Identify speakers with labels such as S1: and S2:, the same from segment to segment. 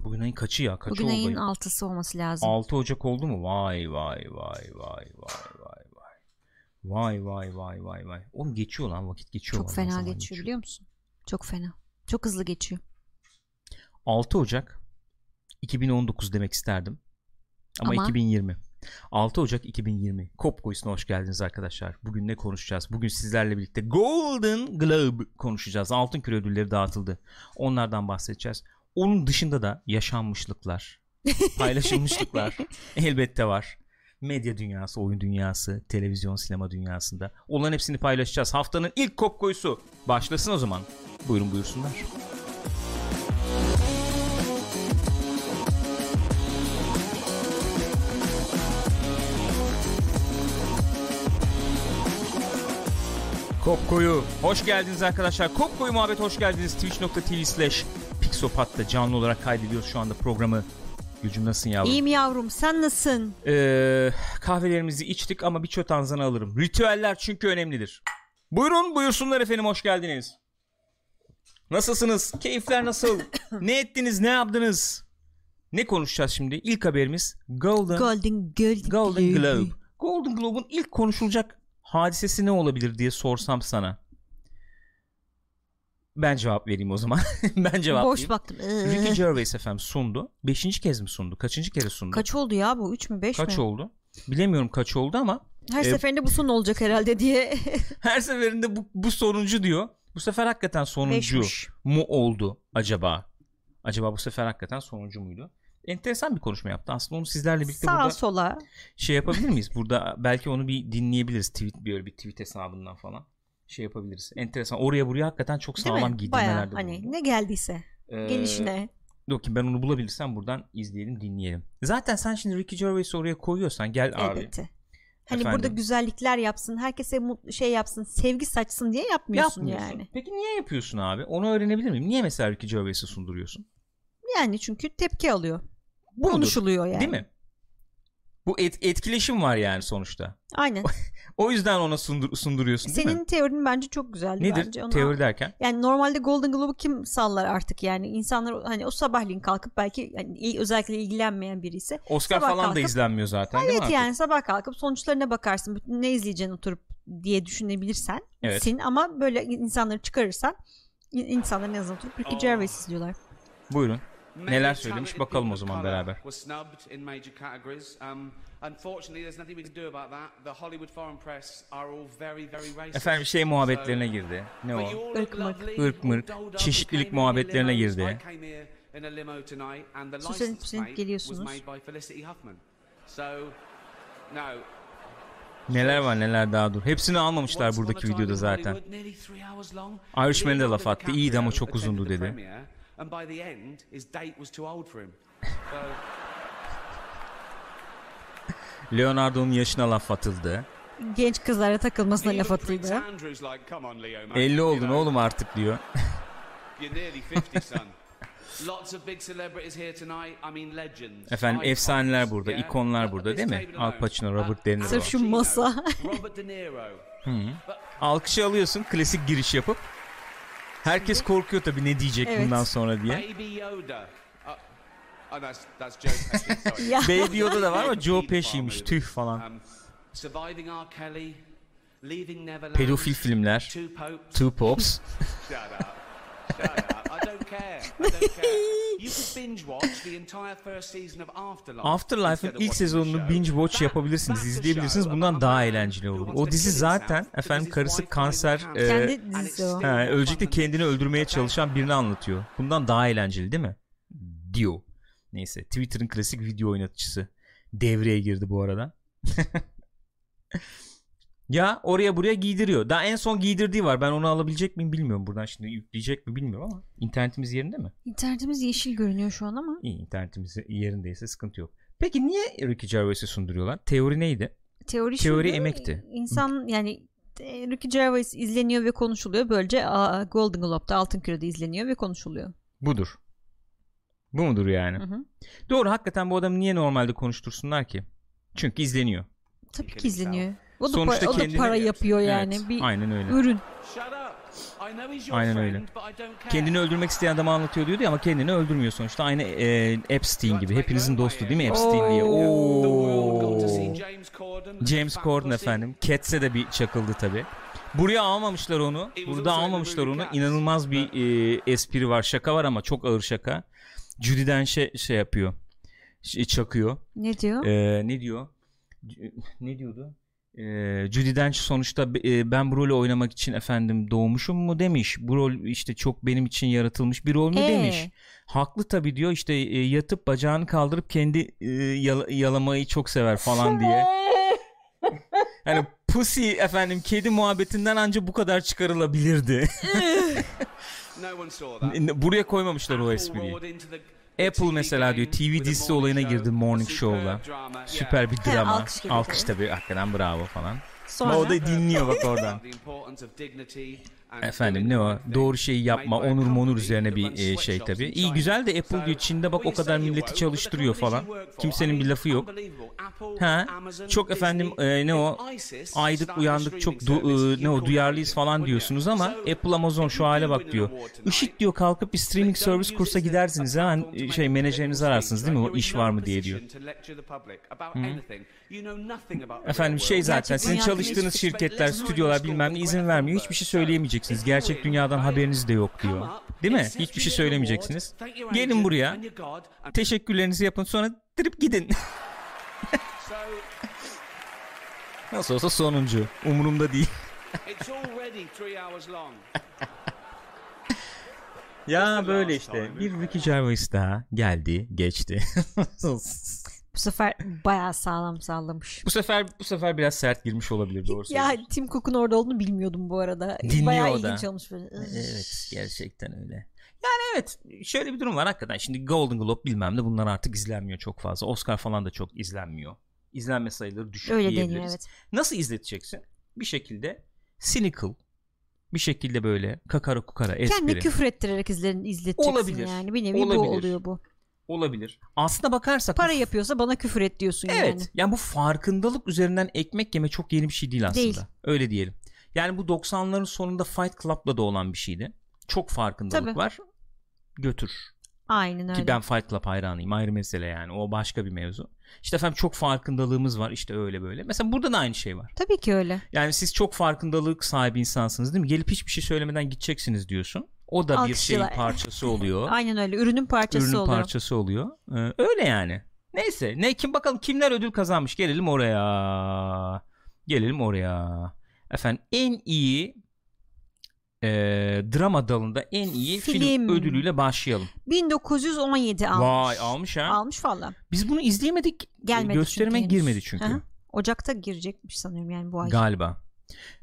S1: Bugün ayın kaçı ya? Kaçı
S2: Bugün
S1: oldu
S2: ayın
S1: ayın?
S2: 6'sı olması lazım.
S1: 6 Ocak oldu mu? Vay vay vay vay vay vay vay. Vay vay vay vay vay. Oğlum geçiyor lan vakit geçiyor.
S2: Çok
S1: vallahi
S2: fena
S1: zaman
S2: geçiyor, biliyor musun? Çok fena. Çok hızlı geçiyor.
S1: 6 Ocak 2019 demek isterdim. Ama,
S2: Ama-
S1: 2020. 6 Ocak 2020. Kop Koyus'una hoş geldiniz arkadaşlar. Bugün ne konuşacağız? Bugün sizlerle birlikte Golden Globe konuşacağız. Altın Küre ödülleri dağıtıldı. Onlardan bahsedeceğiz. Onun dışında da yaşanmışlıklar, paylaşılmışlıklar elbette var. Medya dünyası, oyun dünyası, televizyon, sinema dünyasında. Onların hepsini paylaşacağız. Haftanın ilk Kop Koyusu başlasın o zaman. Buyurun buyursunlar. Kopko'yu hoş geldiniz arkadaşlar. Kopko'yu muhabbet hoş geldiniz. Twitch.tv slash Pixopat'ta canlı olarak kaydediyoruz şu anda programı. Gücüm nasılsın yavrum?
S2: İyiyim yavrum sen nasılsın?
S1: Ee, kahvelerimizi içtik ama bir çöt anzana alırım. Ritüeller çünkü önemlidir. Buyurun buyursunlar efendim hoş geldiniz. Nasılsınız? Keyifler nasıl? ne ettiniz? Ne yaptınız? Ne konuşacağız şimdi? İlk haberimiz Golden
S2: Golden, Golden,
S1: Golden Globe. Golden Globe'un ilk konuşulacak hadisesi ne olabilir diye sorsam sana. Ben cevap vereyim o zaman. ben cevap
S2: Boş
S1: vereyim.
S2: baktım. Ee,
S1: Ricky Gervais efendim sundu. Beşinci kez mi sundu? Kaçıncı kere sundu?
S2: kaç oldu ya bu? 3 mü 5 mi?
S1: Kaç oldu? Bilemiyorum kaç oldu ama
S2: Her
S1: Ee,
S2: seferinde bu son olacak herhalde diye.
S1: her seferinde bu, bu sonuncu diyor. Bu sefer hakikaten sonuncu
S2: Beşmiş.
S1: mu oldu acaba? Acaba bu sefer hakikaten sonuncu muydu? Enteresan bir konuşma yaptı. Aslında onu sizlerle birlikte
S2: Sağa
S1: burada
S2: sola.
S1: şey yapabilir miyiz? Burada belki onu bir dinleyebiliriz. Tweet böyle bir tweet hesabından falan şey yapabiliriz. Enteresan. Oraya buraya hakikaten çok
S2: Değil
S1: sağlam
S2: mi? Baya
S1: giydirmelerde
S2: hani
S1: bulundu.
S2: ne geldiyse.
S1: Ee,
S2: Gelişine.
S1: Yok ki ben onu bulabilirsem buradan izleyelim dinleyelim. Zaten sen şimdi Ricky Gervais'i oraya koyuyorsan gel abi.
S2: Elbette. Hani
S1: Efendim?
S2: burada güzellikler yapsın, herkese mut- şey yapsın, sevgi saçsın diye yapmıyorsun,
S1: Yapmıyorsun.
S2: yani.
S1: Peki niye yapıyorsun abi? Onu öğrenebilir miyim? Niye mesela Ricky Gervais'i sunduruyorsun?
S2: Yani çünkü tepki alıyor.
S1: Budur,
S2: Konuşuluyor yani.
S1: Değil mi? Bu et- etkileşim var yani sonuçta.
S2: Aynen.
S1: O yüzden ona sundur- sunduruyorsun değil
S2: Senin
S1: mi?
S2: teorin bence çok güzeldi
S1: Nedir?
S2: bence. Onu-
S1: Teori derken.
S2: Yani normalde Golden Globe'u kim sallar artık yani? insanlar hani o sabahleyin kalkıp belki yani il- özellikle ilgilenmeyen biri ise.
S1: Oscar
S2: Sabah
S1: falan da
S2: kalkıp-
S1: izlenmiyor zaten değil
S2: Evet
S1: mi? artık?
S2: yani sabah kalkıp sonuçlarına bakarsın. Bütün ne izleyeceğini oturup diye düşünebilirsen.
S1: Evet.
S2: Sin ama böyle insanları çıkarırsan in- insanların en azından oturup Ricky
S3: Aa.
S2: Gervais izliyorlar.
S1: Buyurun.
S3: Neler söylemiş bakalım o zaman beraber. Um,
S1: Efendim şey muhabbetlerine girdi. Ne o?
S2: Irk mırk.
S1: Irk mırk. Çeşitlilik muhabbetlerine girdi.
S2: Süslenip süslenip geliyorsunuz.
S1: Neler var neler daha dur. Hepsini almamışlar buradaki videoda zairishman'e zaten. Irishman'e de laf attı. İyiydi ama çok uzundu dedi. Leonardo'nun yaşına laf atıldı.
S2: Genç kızlara takılmasına laf atıldı.
S1: 50 oldun oğlum artık diyor.
S3: You're nearly 50, son. Lots of big celebrities here tonight. I mean legends.
S1: Efendim,
S3: Icons,
S1: efsaneler burada,
S3: yeah?
S1: ikonlar burada, değil mi?
S3: This table alone.
S1: Al Pacino, Robert
S3: Uh,
S1: De Niro.
S2: Sırf şu
S3: Al Pacino,
S2: masa.
S3: Robert De Niro.
S1: Alkışı alıyorsun klasik giriş yapıp. Herkes korkuyor tabii ne diyecek
S2: Evet.
S1: bundan sonra diye.
S3: Baby Yoda. Uh, oh, that's, that's Joe Pesci, sorry.
S2: Ya
S1: Baby Yoda da var ama Joe Pesci'ymiş tüh falan.
S3: Um, surviving R. Kelly. Leaving Neverland.
S1: Pedofil filmler.
S3: Two popes.
S1: Two Pops.
S3: Shut up. Shut up. I don't care. I don't care. You could binge watch the entire first season of Afterlife.
S1: Afterlife'ın
S3: instead
S1: ilk
S3: of watching the
S1: sezonunu
S3: show.
S1: binge watch
S3: That-
S1: yapabilirsiniz,
S3: that's a
S1: izleyebilirsiniz.
S3: show
S1: Bundan
S3: about
S1: daha
S3: a man
S1: eğlenceli
S3: who
S1: olur.
S3: wants
S1: O
S3: to
S1: dizi
S3: kill
S1: zaten
S3: himself because
S1: efendim
S3: his
S1: karısı
S3: wife
S1: kanser
S3: finds
S1: e,
S3: him
S2: Kendi
S3: and it's
S2: dizisi o.
S3: still
S1: ha,
S3: fun
S1: ölecek de
S3: and
S1: kendini öldürmeye
S3: okay.
S1: çalışan birini anlatıyor. Bundan daha eğlenceli değil mi? Diyor. Neyse Twitter'ın klasik video oynatıcısı devreye girdi bu arada. ya oraya buraya giydiriyor. Daha en son giydirdiği var. Ben onu alabilecek miyim bilmiyorum. Buradan şimdi yükleyecek mi bilmiyorum ama internetimiz yerinde mi?
S2: İnternetimiz yeşil görünüyor şu an ama
S1: İyi internetimiz yerindeyse sıkıntı yok. Peki niye Ricky Gervais'i E sunduruyorlar? Teori neydi?
S2: teori
S1: Teori
S2: şuydu,
S1: emekti.
S2: İnsan yani e, Ricky Gervais izleniyor ve konuşuluyor. Böylece aa, Golden Globe'da Altın Küre'de izleniyor ve konuşuluyor.
S1: Budur. Bu mudur yani?
S2: Hı hı.
S1: Doğru hakikaten bu adamı niye normalde konuştursunlar ki? Çünkü izleniyor.
S2: Tabii ki
S3: Kendini
S2: izleniyor. O da,
S1: Sonuçta
S2: para, o da
S1: kendini-
S2: para yapıyor
S1: Evet,
S2: yani. bir
S1: Aynen öyle.
S2: ürün.
S3: Shut up.
S1: Aynen öyle. Kendini öldürmek isteyen adamı anlatıyor diyordu ya ama kendini öldürmüyor sonuçta. Aynı e, Epstein gibi. Hepinizin dostu değil mi Epstein diye? Oo. James Corden efendim. Cats'e de bir çakıldı tabi. Buraya almamışlar onu. Burada almamışlar onu. İnanılmaz bir e, espri var. Şaka var ama çok ağır şaka. Judy'den şey, şey yapıyor. Şey, çakıyor.
S2: Ne diyor?
S1: Ee, ne diyor? C- Ne diyordu? Ee, Judi Dench sonuçta b- e, ben bu rolü oynamak için efendim doğmuşum mu demiş. Bu rol işte çok benim için yaratılmış bir rol mü
S2: Ee?
S1: demiş. Haklı tabii diyor işte e, yatıp bacağını kaldırıp kendi e, yala- yalamayı çok sever falan diye. Yani pussy efendim kedi muhabbetinden anca bu kadar çıkarılabilirdi. Buraya koymamışlar o espriyi. Apple mesela diyor TV dizisi olayına girdi Morning Show'la. Süper bir drama.
S2: alkış
S1: alkış,
S2: gibi
S1: tabii hakikaten bravo falan.
S2: Sonra
S1: o da dinliyor bak oradan. Efendim ne o? Doğru şeyi yapma. Onur monur üzerine bir e, şey tabii. İyi güzel de Apple diyor Çin'de bak o kadar milleti çalıştırıyor falan. Kimsenin bir lafı yok. Ha,
S3: Ha,
S1: çok efendim e, ne o aydık uyandık çok du- e, ne o duyarlıyız falan diyorsunuz ama Apple Amazon şu hale bak diyor. IŞİD diyor kalkıp bir streaming service kursa gidersiniz hemen e, şey menajerinizi ararsınız değil mi o iş var mı diye diyor. Efendim şey zaten
S2: Gerçek
S1: sizin
S2: dünyanın
S1: çalıştığınız
S2: hiçbir- şey
S1: şirketler, stüdyolar bilmem ne izin vermiyor. Hiçbir şey söyleyemeyeceksiniz. Gerçek dünyadan haberiniz de yok diyor. Değil mi? Hiçbir şey söylemeyeceksiniz. Gelin buraya. Teşekkürlerinizi yapın sonra trip gidin. Nasıl olsa sonuncu. Umurumda değil. Ya böyle işte. Bir Ricky Gervais daha geldi, geçti.
S2: bu sefer bayağı sağlam sallamış.
S1: bu sefer bu sefer biraz sert girmiş olabilir doğrusu.
S2: Ya Tim Cook'un orada olduğunu bilmiyordum bu arada.
S1: Şey. Dinliyor
S2: bayağı
S1: o da.
S2: ilginç olmuş. Böyle.
S1: Evet gerçekten öyle. Yani evet şöyle bir durum var hakikaten. Şimdi Golden Globe bilmem ne bunlar artık izlenmiyor çok fazla. Oscar falan da çok izlenmiyor. İzlenme sayıları düşük
S2: Öyle
S1: diyebiliriz.
S2: deniyor evet.
S1: Nasıl izleteceksin? Bir şekilde cynical. Bir şekilde böyle kakara kukara espri.
S2: Kendini küfür ettirerek izlerin, izleteceksin
S1: Olabilir.
S2: yani. Bir nevi bu
S1: Olabilir.
S2: oluyor bu.
S1: Olabilir. Aslına bakarsak
S2: Para yapıyorsa bana küfür et diyorsun
S1: Evet.
S2: yani.
S1: Yani. bu farkındalık üzerinden ekmek yeme çok yeni bir şey değil aslında.
S2: Değil.
S1: Öyle diyelim. Yani bu 90'ların sonunda Fight Club'la da olan bir şeydi. Çok farkındalık
S2: Tabii.
S1: var. Götür.
S2: Aynen öyle.
S1: Ki ben Fight Club hayranıyım ayrı mesele yani o başka bir mevzu. İşte efendim çok farkındalığımız var işte öyle böyle. Mesela burada da aynı şey var.
S2: Tabii ki öyle.
S1: Yani siz çok farkındalık sahibi insansınız değil mi? Gelip hiçbir şey söylemeden gideceksiniz diyorsun. O da bir şeyin
S2: Alkışlıyorlar.
S1: parçası oluyor.
S2: Aynen öyle. Ürünün parçası
S1: Ürünün
S2: oluyor.
S1: parçası oluyor. Ee, öyle yani. Neyse ne kim bakalım kimler ödül kazanmış gelelim oraya. Gelelim oraya. Efendim en iyi e, drama dalında en iyi film,
S2: Film.
S1: ödülüyle başlayalım.
S2: 1917 almış.
S1: Vay almış ha.
S2: Almış valla.
S1: Biz bunu izleyemedik.
S2: Gelmedi
S1: Gösterime
S2: çünkü henüz.
S1: girmedi çünkü.
S2: Aha. Ocak'ta girecekmiş sanıyorum yani bu ay.
S1: Galiba.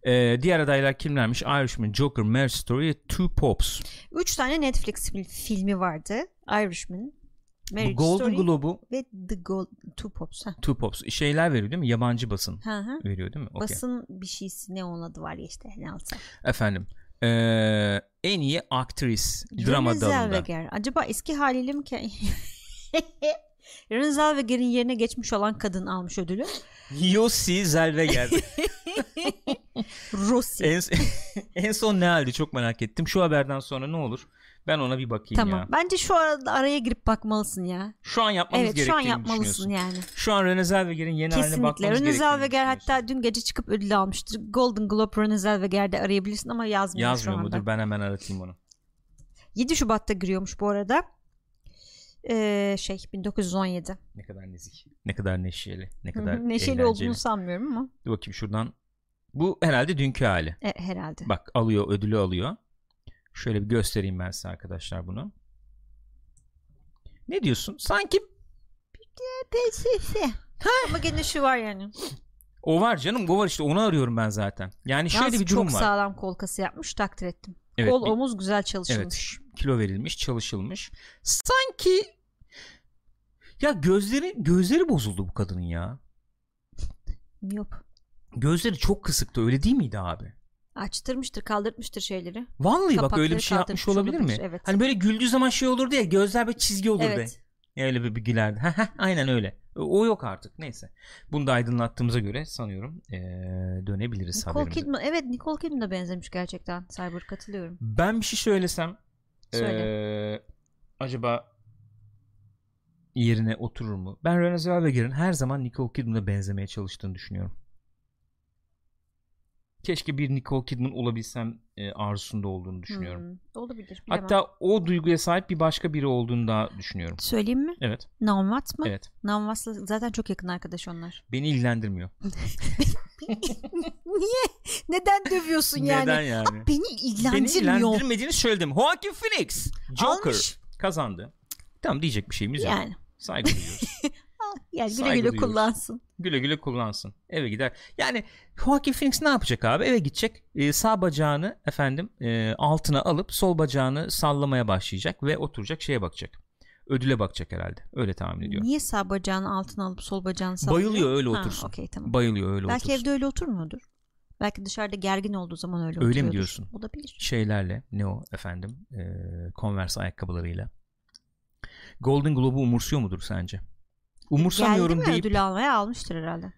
S1: Ee, diğer adaylar kimlermiş? Irishman, Joker, Marriage Story, Two Pops.
S2: Üç tane Netflix fil- filmi vardı. Irishman, Marriage
S1: Bu Golden
S2: Story
S1: Globe'u
S2: ve The Gold Two Pops. Ha.
S1: Two Pops şeyler veriyor değil mi? Yabancı basın
S2: Hı hı.
S1: veriyor değil mi? Okey.
S2: Basın bir şeysi ne onun adı var ya işte ne alsa.
S1: Efendim. ee, en iyi aktris drama
S2: Renée
S1: dalında.
S2: Zellweger. Acaba eski haliyle mi ki? Renée Zellweger'in yerine geçmiş olan kadın almış ödülü.
S1: Yossi Zellweger.
S2: Rossi.
S1: en, en son ne halde çok merak ettim. Şu haberden sonra ne olur? Ben ona bir bakayım
S2: tamam.
S1: ya.
S2: Bence şu arada araya girip bakmalısın ya.
S1: Şu an yapmamız
S2: Evet şu an
S1: gerektiğini
S2: yapmalısın
S1: düşünüyorsun.
S2: yani.
S1: Şu an Renée Zellweger'in yeni haline
S2: Kesinlikle.
S1: bakmamız
S2: Renée
S1: gerektiğini
S2: Zellweger
S1: düşünüyorsun.
S2: hatta dün gece çıkıp ödül almıştır. Golden Globe Renée Zellweger'de arayabilirsin ama yazmıyor,
S1: Yazmıyor
S2: şu anda.
S1: mudur? Ben hemen aratayım onu.
S2: 7 Şubat'ta giriyormuş bu arada. Ee, şey 1917.
S1: Ne kadar nezik. Ne kadar neşeli. Ne
S2: Hı
S1: kadar
S2: hı, Neşeli
S1: eğlenceli.
S2: olduğunu sanmıyorum ama
S1: Dur bakayım şuradan. Bu herhalde dünkü hali.
S2: e, herhalde.
S1: Bak alıyor ödülü alıyor. Şöyle bir göstereyim ben size arkadaşlar bunu. Ne diyorsun? Sanki
S2: ama gene şu var yani.
S1: o var canım o var işte onu arıyorum ben zaten. Yani şöyle
S2: Yalnız
S1: bir durum
S2: çok
S1: var.
S2: sağlam kol kası yapmış takdir ettim.
S1: Evet,
S2: kol
S1: bir
S2: omuz güzel çalışılmış.
S1: kilo verilmiş çalışılmış. Sanki ya gözleri gözleri bozuldu bu kadının ya.
S2: Yok.
S1: Gözleri çok kısıktı öyle değil miydi abi?
S2: Açtırmıştır kaldırtmıştır şeyleri.
S1: Vallahi bak
S2: Kapakları
S1: öyle bir şey yapmış
S2: kaldırmış
S1: olabilir mi?
S2: olabilir, evet.
S1: Hani böyle güldüğü zaman şey olurdu ya gözler böyle çizgi olurdu.
S2: evet.
S1: Öyle bir, bir gülerdi. Heh, heh, Aynen öyle. O yok artık. Neyse. Bunu da aydınlattığımıza göre sanıyorum ee, dönebiliriz
S2: Nicole
S1: haberimize.
S2: Kidman evet Nicole Kidman'a benzemiş gerçekten Cyber katılıyorum.
S1: Ben bir şey söylesem
S2: Söyle.
S1: ee, acaba yerine oturur mu? Ben Renée Zellweger'in her zaman Nicole Kidman'a benzemeye çalıştığını düşünüyorum. Keşke bir Nicole Kidman olabilsem ee, arzusunda olduğunu düşünüyorum.
S2: Hmm, olabilir. bilemem.
S1: Hatta o duyguya sahip bir başka biri olduğunu da düşünüyorum.
S2: söyleyeyim mi?
S1: Evet.
S2: Naum Watts mı?
S1: Evet.
S2: Naum Watts'la zaten çok yakın arkadaş onlar.
S1: Beni ilgilendirmiyor.
S2: Niye? Neden dövüyorsun
S1: Neden yani?
S2: Beni
S1: Beni
S2: ilgilendirmiyor.
S1: ilgilendirmediğini söyledim. Joaquin Phoenix Joker
S2: Almış.
S1: kazandı. Tamam diyecek bir şeyimiz yok.
S2: yani.
S1: Saygı duyuyoruz.
S2: Yani güle
S1: Saygı
S2: güle
S1: duyuyoruz.
S2: kullansın.
S1: güle güle kullansın. Eve gider. Yani Joaquin Phoenix ne yapacak abi? Eve gidecek. e, sağ bacağını efendim e, altına alıp sol bacağını sallamaya başlayacak ve oturacak şeye bakacak. Ödüle bakacak herhalde. Öyle tahmin ediyorum.
S2: Niye sağ bacağını altına alıp sol bacağını sallıyor?
S1: Bayılıyor, öyle
S2: Ha,
S1: otursun.
S2: okey, tamam.
S1: Bayılıyor öyle
S2: Belki
S1: otursun.
S2: evde öyle oturmuyordur. Belki dışarıda gergin olduğu zaman öyle
S1: Öyle mi
S2: oturuyordur.
S1: diyorsun?
S2: Olabilir.
S1: şeylerle ne o efendim e, Converse ayakkabılarıyla Golden Globe'u umursuyor mudur sence? Umursamıyorum
S2: Geldi mi
S1: deyip
S2: ödül almaya almıştır herhalde.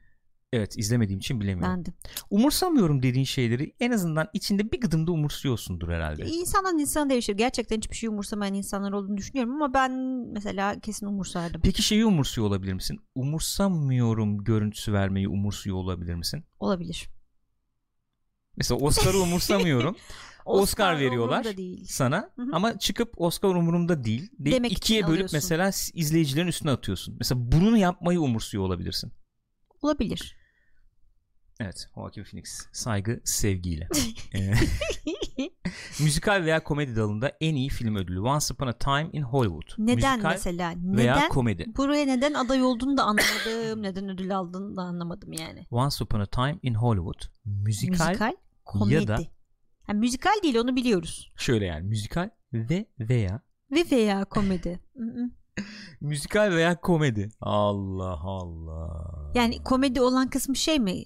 S1: evet izlemediğim için bilemiyorum.
S2: Bendim.
S1: Umursamıyorum dediğin şeyleri en azından içinde bir gıdımda umursuyorsundur herhalde.
S2: İnsandan insana değişir. Gerçekten hiçbir şey umursamayan insanlar olduğunu düşünüyorum ama ben mesela kesin umursardım.
S1: Peki şeyi umursuyor olabilir misin? Umursamıyorum görüntüsü vermeyi umursuyor olabilir misin?
S2: Olabilir.
S1: Mesela Oscar'ı umursamıyorum Oscar veriyorlar.
S2: umurumda değil.
S1: sana
S2: Hı hı.
S1: ama çıkıp Oscar umurumda değil. deyip
S2: Demek için
S1: ikiye bölüp
S2: alıyorsun.
S1: mesela izleyicilerin üstüne atıyorsun. Mesela bunu yapmayı umursuyor olabilirsin.
S2: Olabilir.
S1: Evet Joaquin Phoenix saygı sevgiyle. Ee, müzikal veya komedi dalında en iyi film ödülü Once Upon a Time in Hollywood.
S2: Neden
S1: müzikal
S2: mesela?
S1: veya
S2: Neden?
S1: komedi.
S2: Buraya neden aday olduğunu da anlamadım. neden ödül aldığını da anlamadım yani.
S1: Once Upon a Time in Hollywood müzikal,
S2: müzikal komedi.
S1: da-
S2: Ha, müzikal değil onu biliyoruz.
S1: şöyle yani müzikal ve veya
S2: Ve veya komedi. Hı hı.
S1: müzikal veya komedi. Allah Allah.
S2: yani komedi olan kısmı şey mi?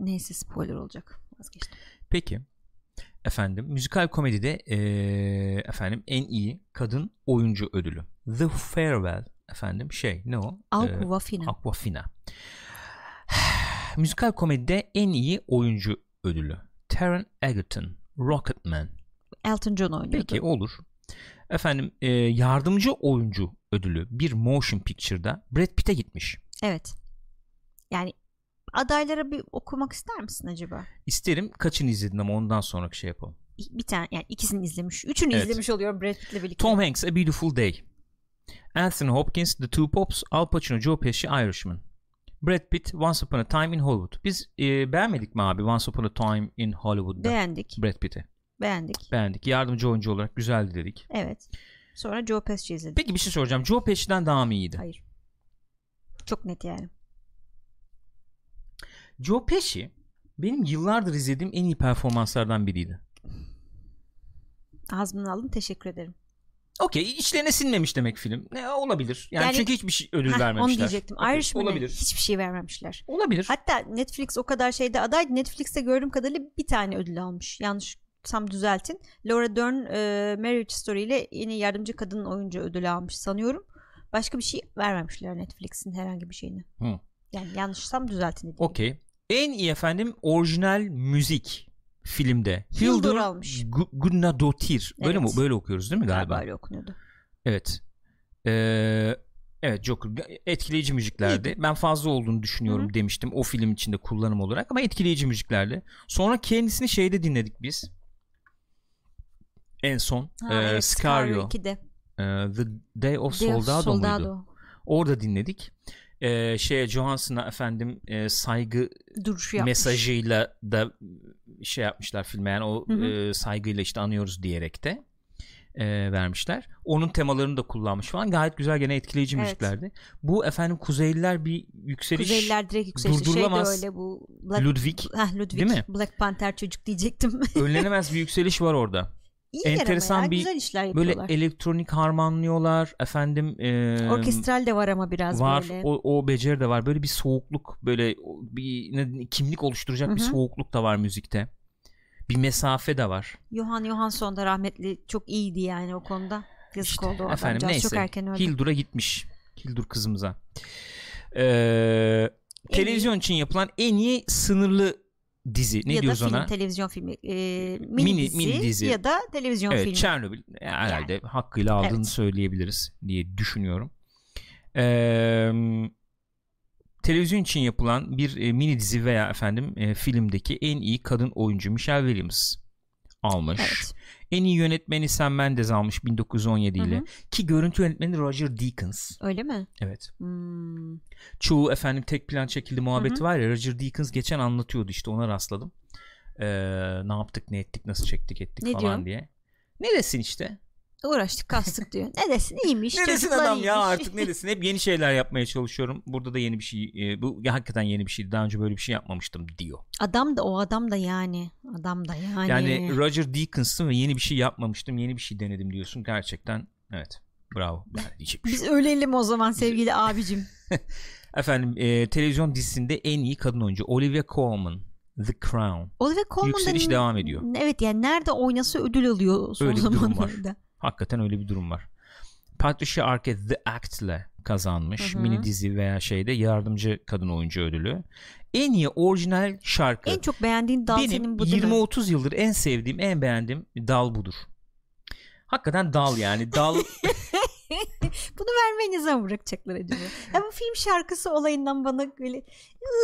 S2: Neyse spoiler olacak. Vazgeçtim.
S1: Ee, Peki. Efendim müzikal komedide eee, efendim en iyi kadın oyuncu ödülü. The Farewell efendim şey ne o? Ee,
S2: Aquafina.
S1: Aquafina. Müzikal komedide en iyi oyuncu ödülü. Taron Egerton, Rocketman.
S2: Elton John oynuyordu.
S1: Peki olur. Efendim e, yardımcı oyuncu ödülü bir motion picture'da Brad Pitt'e gitmiş.
S2: Evet. Yani adaylara bir okumak ister misin acaba?
S1: İsterim kaçını izledin ama ondan sonraki şey yapalım.
S2: Bir tane yani ikisini izlemiş. Üçünü
S1: Evet.
S2: izlemiş oluyorum Brad Pitt'le birlikte.
S1: Tom Hanks A Beautiful Day. Anthony Hopkins The Two Pops. Al Pacino Joe Pesci Irishman. Brad Pitt Once Upon a Time in Hollywood. Biz e, beğenmedik mi abi Once Upon a Time in Hollywood'da
S2: Beğendik.
S1: Brad Pitt'i?
S2: Beğendik.
S1: Beğendik. Yardımcı oyuncu olarak güzeldi dedik.
S2: Evet. Sonra Joe Pesci izledik.
S1: Peki bir şey soracağım. Joe Pesci'den daha mı iyiydi?
S2: Hayır. Çok net yani.
S1: Joe Pesci benim yıllardır izlediğim en iyi performanslardan biriydi.
S2: Ağzımdan aldım teşekkür ederim.
S1: Okey içlerine sinmemiş demek film. Ne olabilir. Yani,
S2: Yani-
S1: çünkü hiçbir şey ödül
S2: Heh,
S1: vermemişler.
S2: Onu diyecektim.
S1: Okey,
S2: Irishman'e
S1: olabilir.
S2: hiçbir şey vermemişler.
S1: Olabilir.
S2: Hatta Netflix o kadar şeyde adaydı. Netflix'te gördüğüm kadarıyla bir tane ödül almış. Yanlış tam düzeltin. Laura Dern e, Marriage Story ile en iyi yardımcı kadın oyuncu ödülü almış sanıyorum. Başka bir şey vermemişler Netflix'in herhangi bir şeyini.
S1: Hı.
S2: Yani yanlışsam düzeltin dedim.
S1: Okey. En iyi efendim orijinal müzik filmde.
S2: Hildur almış.
S1: Gu- Gunnadottir. Böyle mi?
S2: Evet.
S1: Böyle okuyoruz değil mi galiba?
S2: Galiba öyle okunuyordu.
S1: Evet. Ee, evet Joker etkileyici müziklerdi. Ben fazla olduğunu düşünüyorum demiştim o film içinde kullanım olarak ama etkileyici müziklerdi. Sonra kendisini şeyde dinledik biz. En son
S2: Ha,
S1: ee,
S2: evet,
S1: Sicario,
S2: 2'de.
S1: ee, The Day of
S2: Day of
S1: Soldado, muydu?
S2: Soldado.
S1: Orada dinledik. Ee, şeye Johansson'a efendim ee, saygı
S2: Duruşu yapmış.
S1: mesajıyla da şey yapmışlar filme yani o
S2: Hı hı.
S1: e, saygıyla işte anıyoruz diyerek de e, vermişler. Onun temalarını da kullanmış falan gayet güzel gene etkileyici
S2: Evet.
S1: müziklerdi. Bu efendim Kuzeyliler bir yükseliş
S2: Kuzeyliler direkt yükselişi. Şey de
S1: durdurulamaz.
S2: öyle bu. Black,
S1: Ludwig
S2: Heh, Ludwig.
S1: Değil mi?
S2: Black Panther çocuk diyecektim.
S1: önlenemez bir yükseliş var orada.
S2: İyi
S1: Enteresan
S2: Enteresan bir
S1: bir-
S2: güzel işler
S1: Böyle
S2: yapıyorlar.
S1: elektronik harmanlıyorlar efendim e,
S2: Orkestral de var ama biraz
S1: var
S2: böyle.
S1: o, o beceri de var böyle bir soğukluk böyle o- bir ne- kimlik oluşturacak bir
S2: Hı hı.
S1: soğukluk da var müzikte. Bir mesafe de var.
S2: Johan Johansson da rahmetli çok iyiydi yani o konuda. Yazık
S1: İşte
S2: oldu o
S1: efendim
S2: adamcağız.
S1: neyse.
S2: Çok erken öldü.
S1: Hildur'a gitmiş. Hildur kızımıza. Ee, televizyon için yapılan en iyi sınırlı dizi. Ne
S2: ya da
S1: diyoruz
S2: film,
S1: ona?
S2: televizyon filmi. e, mini,
S1: Mini-
S2: dizi,
S1: mini dizi.
S2: ya da televizyon
S1: evet,
S2: filmi.
S1: Çernobil e, herhalde hakkıyla aldığını
S2: Evet.
S1: söyleyebiliriz diye düşünüyorum. Ee, televizyon için yapılan bir e, mini dizi veya efendim e, filmdeki en iyi kadın oyuncu Michelle Williams almış.
S2: Evet.
S1: En iyi yönetmeni Sam Mendes almış 1917
S2: Hı hı.
S1: ile. Ki görüntü yönetmeni Roger Deakins.
S2: Öyle mi?
S1: Evet.
S2: Hmm.
S1: Çoğu efendim tek plan çekildi muhabbeti var ya Roger Deakins geçen anlatıyordu işte ona rastladım. Ee, ne yaptık ne ettik nasıl çektik ettik
S2: Ne
S1: falan
S2: diyor?
S1: diye. Ne desin işte?
S2: Uğraştık kastık diyor. Ne desin iyiymiş.
S1: Ne desin
S2: çocuklar şey.
S1: adam ya
S2: iyiymiş.
S1: artık ne desin? Hep yeni şeyler yapmaya çalışıyorum. Burada da yeni bir şey e, bu ya hakikaten yeni bir şeydi. Daha önce böyle bir şey yapmamıştım diyor.
S2: Adam da o adam da yani. Adam da yani.
S1: Yani Roger Deakins'ın ve yeni bir şey yapmamıştım. Yeni bir şey denedim diyorsun. Gerçekten evet. Bravo. Yani diyecek bir şey.
S2: Biz ölelim o zaman sevgili abicim.
S1: yok. Efendim e, televizyon dizisinde en iyi kadın oyuncu Olivia Colman The Crown.
S2: Oliver Colman da
S1: Yükseliş
S2: n-
S1: devam ediyor.
S2: Evet yani nerede oynasa ödül alıyor son
S1: Öyle bir durum var.
S2: zamanlarda.
S1: Hakikaten öyle bir durum var. Patricia Arquette The Act'le kazanmış.
S2: Hı hı.
S1: Mini dizi veya şeyde yardımcı kadın oyuncu ödülü. En iyi orijinal şarkı.
S2: En çok beğendiğin dal
S1: Benim
S2: senin bu değil mi?
S1: 20-30 yıldır en sevdiğim, en beğendiğim dal budur. Hakikaten dal yani. Dal
S2: Bunu vermeyi ne zaman bırakacaklar acaba? ya bu film şarkısı olayından bana böyle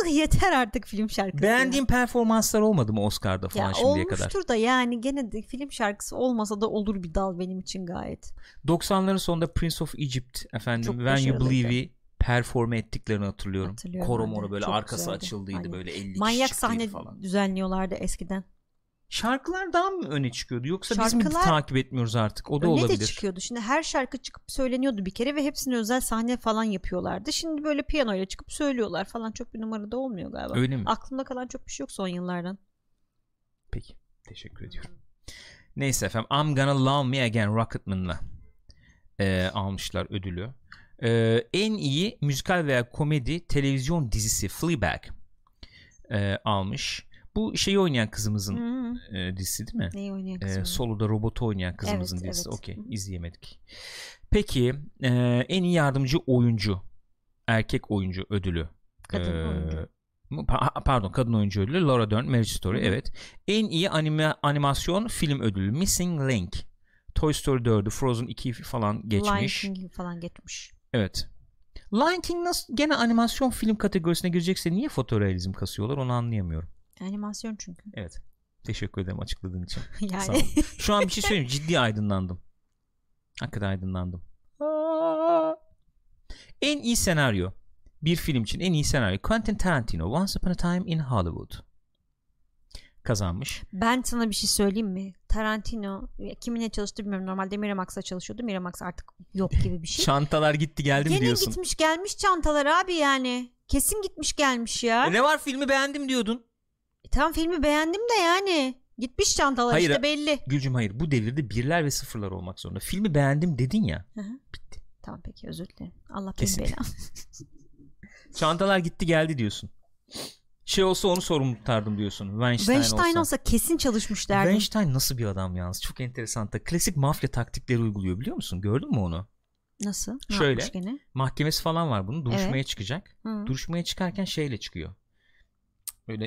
S2: "Ih, yeter artık film şarkısı.
S1: beğendiğim performanslar olmadı mı Oscar'da
S2: ya
S1: falan
S2: Ya
S1: şimdiye
S2: olmuştur
S1: kadar?
S2: da yani gene de film şarkısı olmasa da olur bir dal benim için gayet.
S1: 90'ların sonunda Prince of Egypt efendim
S2: Çok
S1: When You
S2: başarılıydı.
S1: Believe'i performe ettiklerini hatırlıyorum.
S2: Hatırlıyorum
S1: Koro
S2: ben de.
S1: moro böyle
S2: Çok
S1: arkası
S2: güzeldi.
S1: açıldıydı
S2: Aynen.
S1: böyle 50 kişi
S2: Manyak
S1: çıktıydı
S2: sahne
S1: falan.
S2: düzenliyorlardı eskiden.
S1: Şarkılar daha mı öne çıkıyordu yoksa biz mi
S2: Şarkılar-
S1: takip etmiyoruz artık? O da
S2: Öne
S1: olabilir.
S2: de çıkıyordu. Şimdi her şarkı çıkıp söyleniyordu bir kere ve hepsine özel sahne falan yapıyorlardı. Şimdi böyle piyanoyla çıkıp söylüyorlar falan çok bir numara da olmuyor galiba.
S1: Öyle mi?
S2: Aklımda kalan çok bir şey yok son yıllardan.
S1: Peki. Teşekkür ediyorum. Neyse efendim. I'm Gonna Love Me Again Rocketman'la e, almışlar ödülü. E, en iyi müzikal veya komedi televizyon dizisi Fleabag e, almış. Bu şeyi oynayan kızımızın
S2: Hı.
S1: e, dizisi değil mi?
S2: Neyi oynayan
S1: E,
S2: kız oynuyor?
S1: solo'da robotu oynayan kızımızın
S2: Evet,
S1: dizisi.
S2: evet.
S1: Okey.
S2: Hı hı.
S1: izleyemedik. Peki e, en iyi yardımcı oyuncu erkek oyuncu ödülü
S2: Kadın
S1: ee,
S2: oyuncu.
S1: mu- pa- Pardon kadın oyuncu ödülü Laura Dern Marriage Story
S2: Hı hı.
S1: evet. En iyi anime, animasyon film ödülü Missing Link. Toy Story 4'ü Frozen 2'yi falan geçmiş.
S2: Lion King falan geçmiş.
S1: Evet. Lion King nasıl gene animasyon film kategorisine girecekse niye fotorealizm kasıyorlar onu anlayamıyorum.
S2: Animasyon çünkü.
S1: Evet. Teşekkür ederim açıkladığın için. Sağ
S2: yani
S1: ol. Şu an bir şey söyleyeyim mi? ciddi aydınlandım. Hakikaten aydınlandım. En iyi senaryo. Bir film için en iyi senaryo. Quentin Tarantino Once Upon a Time in Hollywood kazanmış.
S2: ben sana bir şey söyleyeyim mi? Tarantino ya kiminle çalıştı bilmiyorum. Normalde Miramax'la çalışıyordu. Miramax artık yok gibi bir şey.
S1: Çantalar gitti geldi mi
S2: Gene
S1: Eh, diyorsun.
S2: gitmiş gelmiş çantalar abi yani. Kesin gitmiş gelmiş ya.
S1: E ne var filmi beğendim diyordun.
S2: E Tam filmi beğendim de yani. Gitmiş çantalar
S1: Hayır, e-
S2: işte belli.
S1: Gülcüm hayır bu devirde birler ve sıfırlar olmak zorunda. Filmi beğendim dedin ya.
S2: Tamam peki özür dilerim. Allah beni
S1: Kesin.
S2: belanı.
S1: Çantalar gitti geldi diyorsun. Şey olsa onu sorumlu tutardım diyorsun. Weinstein,
S2: Weinstein
S1: olsa.
S2: olsa kesin çalışmış derdim.
S1: Weinstein nasıl bir adam yalnız? Çok enteresan da. Klasik mafya taktikleri uyguluyor biliyor musun? Gördün mü onu?
S2: Nasıl? Ne
S1: Şöyle.
S2: yapmış gene?
S1: Mahkemesi falan var bunun. Duruşmaya
S2: Evet.
S1: çıkacak.
S2: Hı.
S1: Duruşmaya çıkarken şeyle çıkıyor. Böyle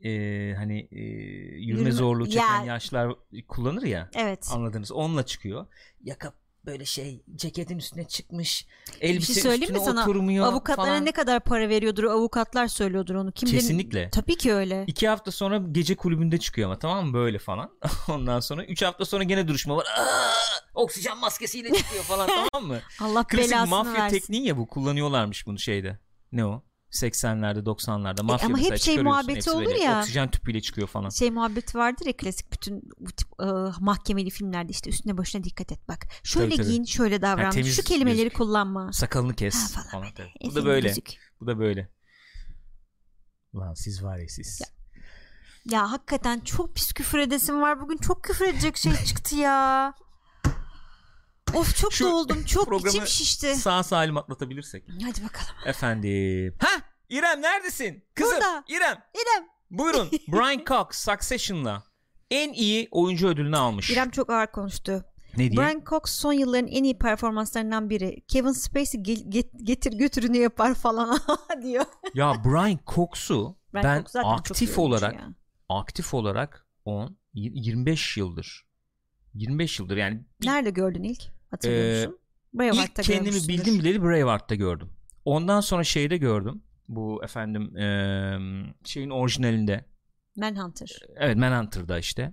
S1: e, hani e, yürüme,
S2: Yürüme-
S1: zorluğu çeken
S2: Ya.
S1: yaşlar kullanır ya.
S2: Evet.
S1: Anladınız. Onunla çıkıyor. Yaka böyle şey ceketin üstüne çıkmış.
S2: Bir
S1: Elbise
S2: şey söyleyeyim mi
S1: üstüne
S2: sana?
S1: oturmuyor
S2: Avukatlara
S1: falan.
S2: ne kadar para veriyordur avukatlar söylüyordur onu. Kim bilir-
S1: Kesinlikle.
S2: Tabii ki öyle.
S1: İki hafta sonra gece kulübünde çıkıyor ama tamam mı böyle falan. Ondan sonra üç hafta sonra gene duruşma var. Aa! Oksijen maskesiyle çıkıyor falan tamam mı?
S2: Allah
S1: Klasik
S2: belasını
S1: mafya
S2: versin.
S1: tekniği ya bu kullanıyorlarmış bunu şeyde. Ne o? 80'lerde 90'larda mafya mesela
S2: ama hep şey
S1: çıkarıyorsun,
S2: muhabbeti
S1: hepsi
S2: olur
S1: böyle
S2: ya.
S1: Oksijen tüpüyle çıkıyor falan.
S2: şey muhabbeti vardır ya klasik bütün bu tip e, mahkemeli filmlerde işte üstüne başına dikkat et bak. Şöyle
S1: Tabii, tabii.
S2: giyin, şöyle davran.
S1: Ha, temiz
S2: Şu kelimeleri
S1: gözük.
S2: kullanma.
S1: Sakalını kes
S2: Ha,
S1: falan.
S2: falan E,
S1: tabii. Bu da
S2: Efendim,
S1: böyle.
S2: gözük.
S1: Bu da böyle. Lan siz var ya siz.
S2: Ya hakikaten çok pis küfür edesim var. Bugün çok küfür edecek şey çıktı ya. Of çok
S1: Şu
S2: doldum. Çok içim
S1: programı
S2: şişti.
S1: Sağ salim atlatabilirsek.
S2: Hadi bakalım.
S1: Efendim. Ha İrem neredesin? Kızım
S2: Burada.
S1: İrem.
S2: İrem.
S1: Buyurun. Brian Cox Succession'la en iyi oyuncu ödülünü almış.
S2: İrem çok ağır konuştu.
S1: Ne diye?
S2: Brian Cox son yılların en iyi performanslarından biri. Kevin Spacey gel- get- getir götürünü yapar falan diyor.
S1: Ya Brian Cox'u
S2: Brian
S1: ben
S2: Cox zaten çok iyi
S1: aktif
S2: oyuncu
S1: olarak
S2: ya.
S1: aktif olarak 10 y- 25 yıldır. 25 yıldır yani bir-
S2: Nerede gördün ilk? Hatırlıyor
S1: Ee,
S2: musun? Braveheart'ta
S1: ilk kendimi
S2: görmüşsündür.
S1: bildim bileli Braveheart'ta gördüm. Ondan sonra şeyde gördüm. Bu efendim eee, şeyin orijinalinde.
S2: Manhunter.
S1: Evet Manhunter'da işte.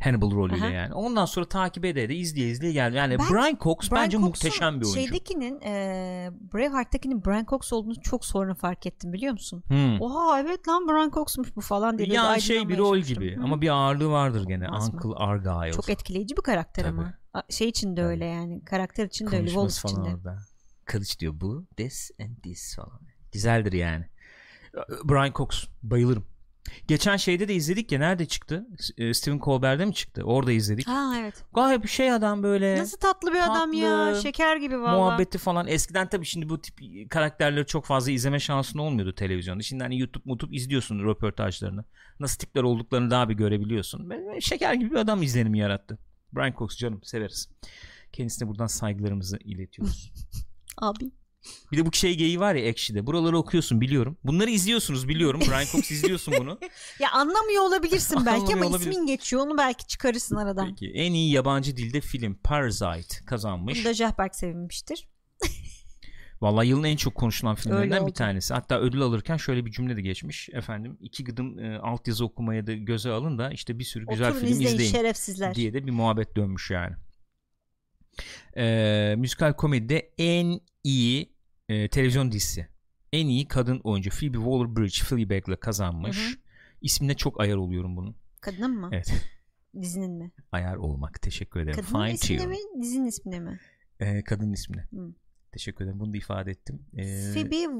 S1: Hannibal rolüyle
S2: Aha.
S1: yani. Ondan sonra takip ede de izleye izleye geldi. Yani
S2: Ben-
S1: Brian Cox
S2: Brian
S1: bence
S2: Cox'un
S1: muhteşem bir oyuncu.
S2: Şeydekinin e, Braveheart'takinin Brian Cox olduğunu çok sonra fark ettim biliyor musun?
S1: Hmm.
S2: Oha evet lan Brian Cox'muş bu falan diye. böyle
S1: Yani şey
S2: aydınlanmaya
S1: bir rol
S2: çalışmıştım.
S1: gibi
S2: Hı.
S1: ama bir ağırlığı vardır gene.
S2: Olmaz mı?
S1: Uncle Argyle.
S2: Çok etkileyici bir karakter
S1: Tabii.
S2: ama. A- Şey için de
S1: Tabii.
S2: öyle yani. Karakter için de öyle. Wolf
S1: Konuşması
S2: için
S1: falan
S2: de.
S1: orada. Kılıç diyor bu. This and this falan. Güzeldir yani. Brian Cox. Bayılırım. Geçen şeyde de izledik ya. Nerede çıktı? E, Stephen Colbert'de mi çıktı? Orada izledik.
S2: Ha evet.
S1: Gayet bir şey adam böyle.
S2: Nasıl tatlı bir adam ya.
S1: Tatlı,
S2: Şeker gibi valla.
S1: muhabbeti falan. Eskiden tabii şimdi bu tip karakterleri çok fazla izleme şansın olmuyordu televizyonda. Şimdi hani YouTube mutup izliyorsun röportajlarını. Nasıl tipler olduklarını daha bir görebiliyorsun. Böyle şeker gibi bir adam izlenimi yarattı. Brian Cox canım severiz. Kendisine buradan saygılarımızı iletiyoruz.
S2: Abi.
S1: Bir de bu şey geyiği var ya ekşide. Buraları okuyorsun biliyorum. Bunları izliyorsunuz biliyorum. Brian Cox izliyorsun bunu.
S2: Ya anlamıyor olabilirsin belki
S1: Anlamıyor
S2: ama
S1: olabilir.
S2: ismin geçiyor. Onu belki çıkarırsın aradan.
S1: Peki en iyi yabancı dilde film Parasite kazanmış.
S2: Bunu da Jahberk sevinmiştir.
S1: Vallahi yılın en çok konuşulan
S2: Öyle
S1: filmlerinden
S2: oldu.
S1: bir tanesi. Hatta ödül alırken şöyle bir cümle de geçmiş. Efendim iki gıdım e, altyazı okumaya da göze alın da işte bir sürü güzel
S2: Oturun
S1: film
S2: izleyin,
S1: izleyin
S2: şerefsizler.
S1: diye de bir muhabbet dönmüş yani. Ee, müzikal komedide en iyi e, televizyon dizisi. En iyi kadın oyuncu Phoebe Waller-Bridge Fleabag'la kazanmış.
S2: Hı hı.
S1: İsmine çok ayar oluyorum bunun.
S2: Kadının mı?
S1: Evet.
S2: Dizinin mi?
S1: Ayar olmak. Teşekkür ederim.
S2: Kadının
S1: Fine
S2: ismine
S1: tune.
S2: mi? Dizinin ismine mi?
S1: Ee, kadın ismine.
S2: Hı.
S1: Teşekkür ederim. Bunu da ifade ettim. Ee,
S2: Phoebe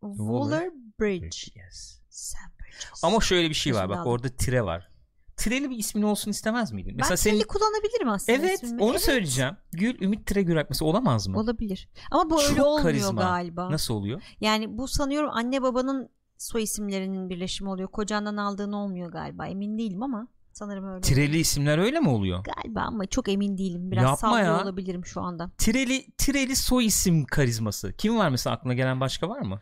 S2: Waller Bridge.
S1: Yes.
S2: Sam Bridges.
S1: Ama şöyle bir şey var
S2: Gözümde
S1: bak
S2: aldım.
S1: orada tire var. Tireli bir ismin olsun istemez miydin?
S2: ben
S1: Mesela
S2: senin...
S1: senin
S2: kullanabilirim aslında.
S1: Evet,
S2: ismimi.
S1: onu
S2: Evet,
S1: söyleyeceğim. Gül Ümit Tire Gürak mesela olamaz mı?
S2: Olabilir. Ama bu öyle
S1: Çok
S2: olmuyor
S1: karizma.
S2: galiba.
S1: Nasıl oluyor?
S2: Yani bu sanıyorum anne babanın soy isimlerinin birleşimi oluyor. Kocandan aldığın olmuyor galiba. Emin değilim ama sanırım öyle.
S1: Tireli isimler öyle mi oluyor?
S2: Galiba ama çok emin değilim. Biraz
S1: Yapma
S2: sallıyor
S1: ya.
S2: olabilirim şu anda.
S1: Tireli tireli soy isim karizması. Kim var mesela aklına gelen başka var mı?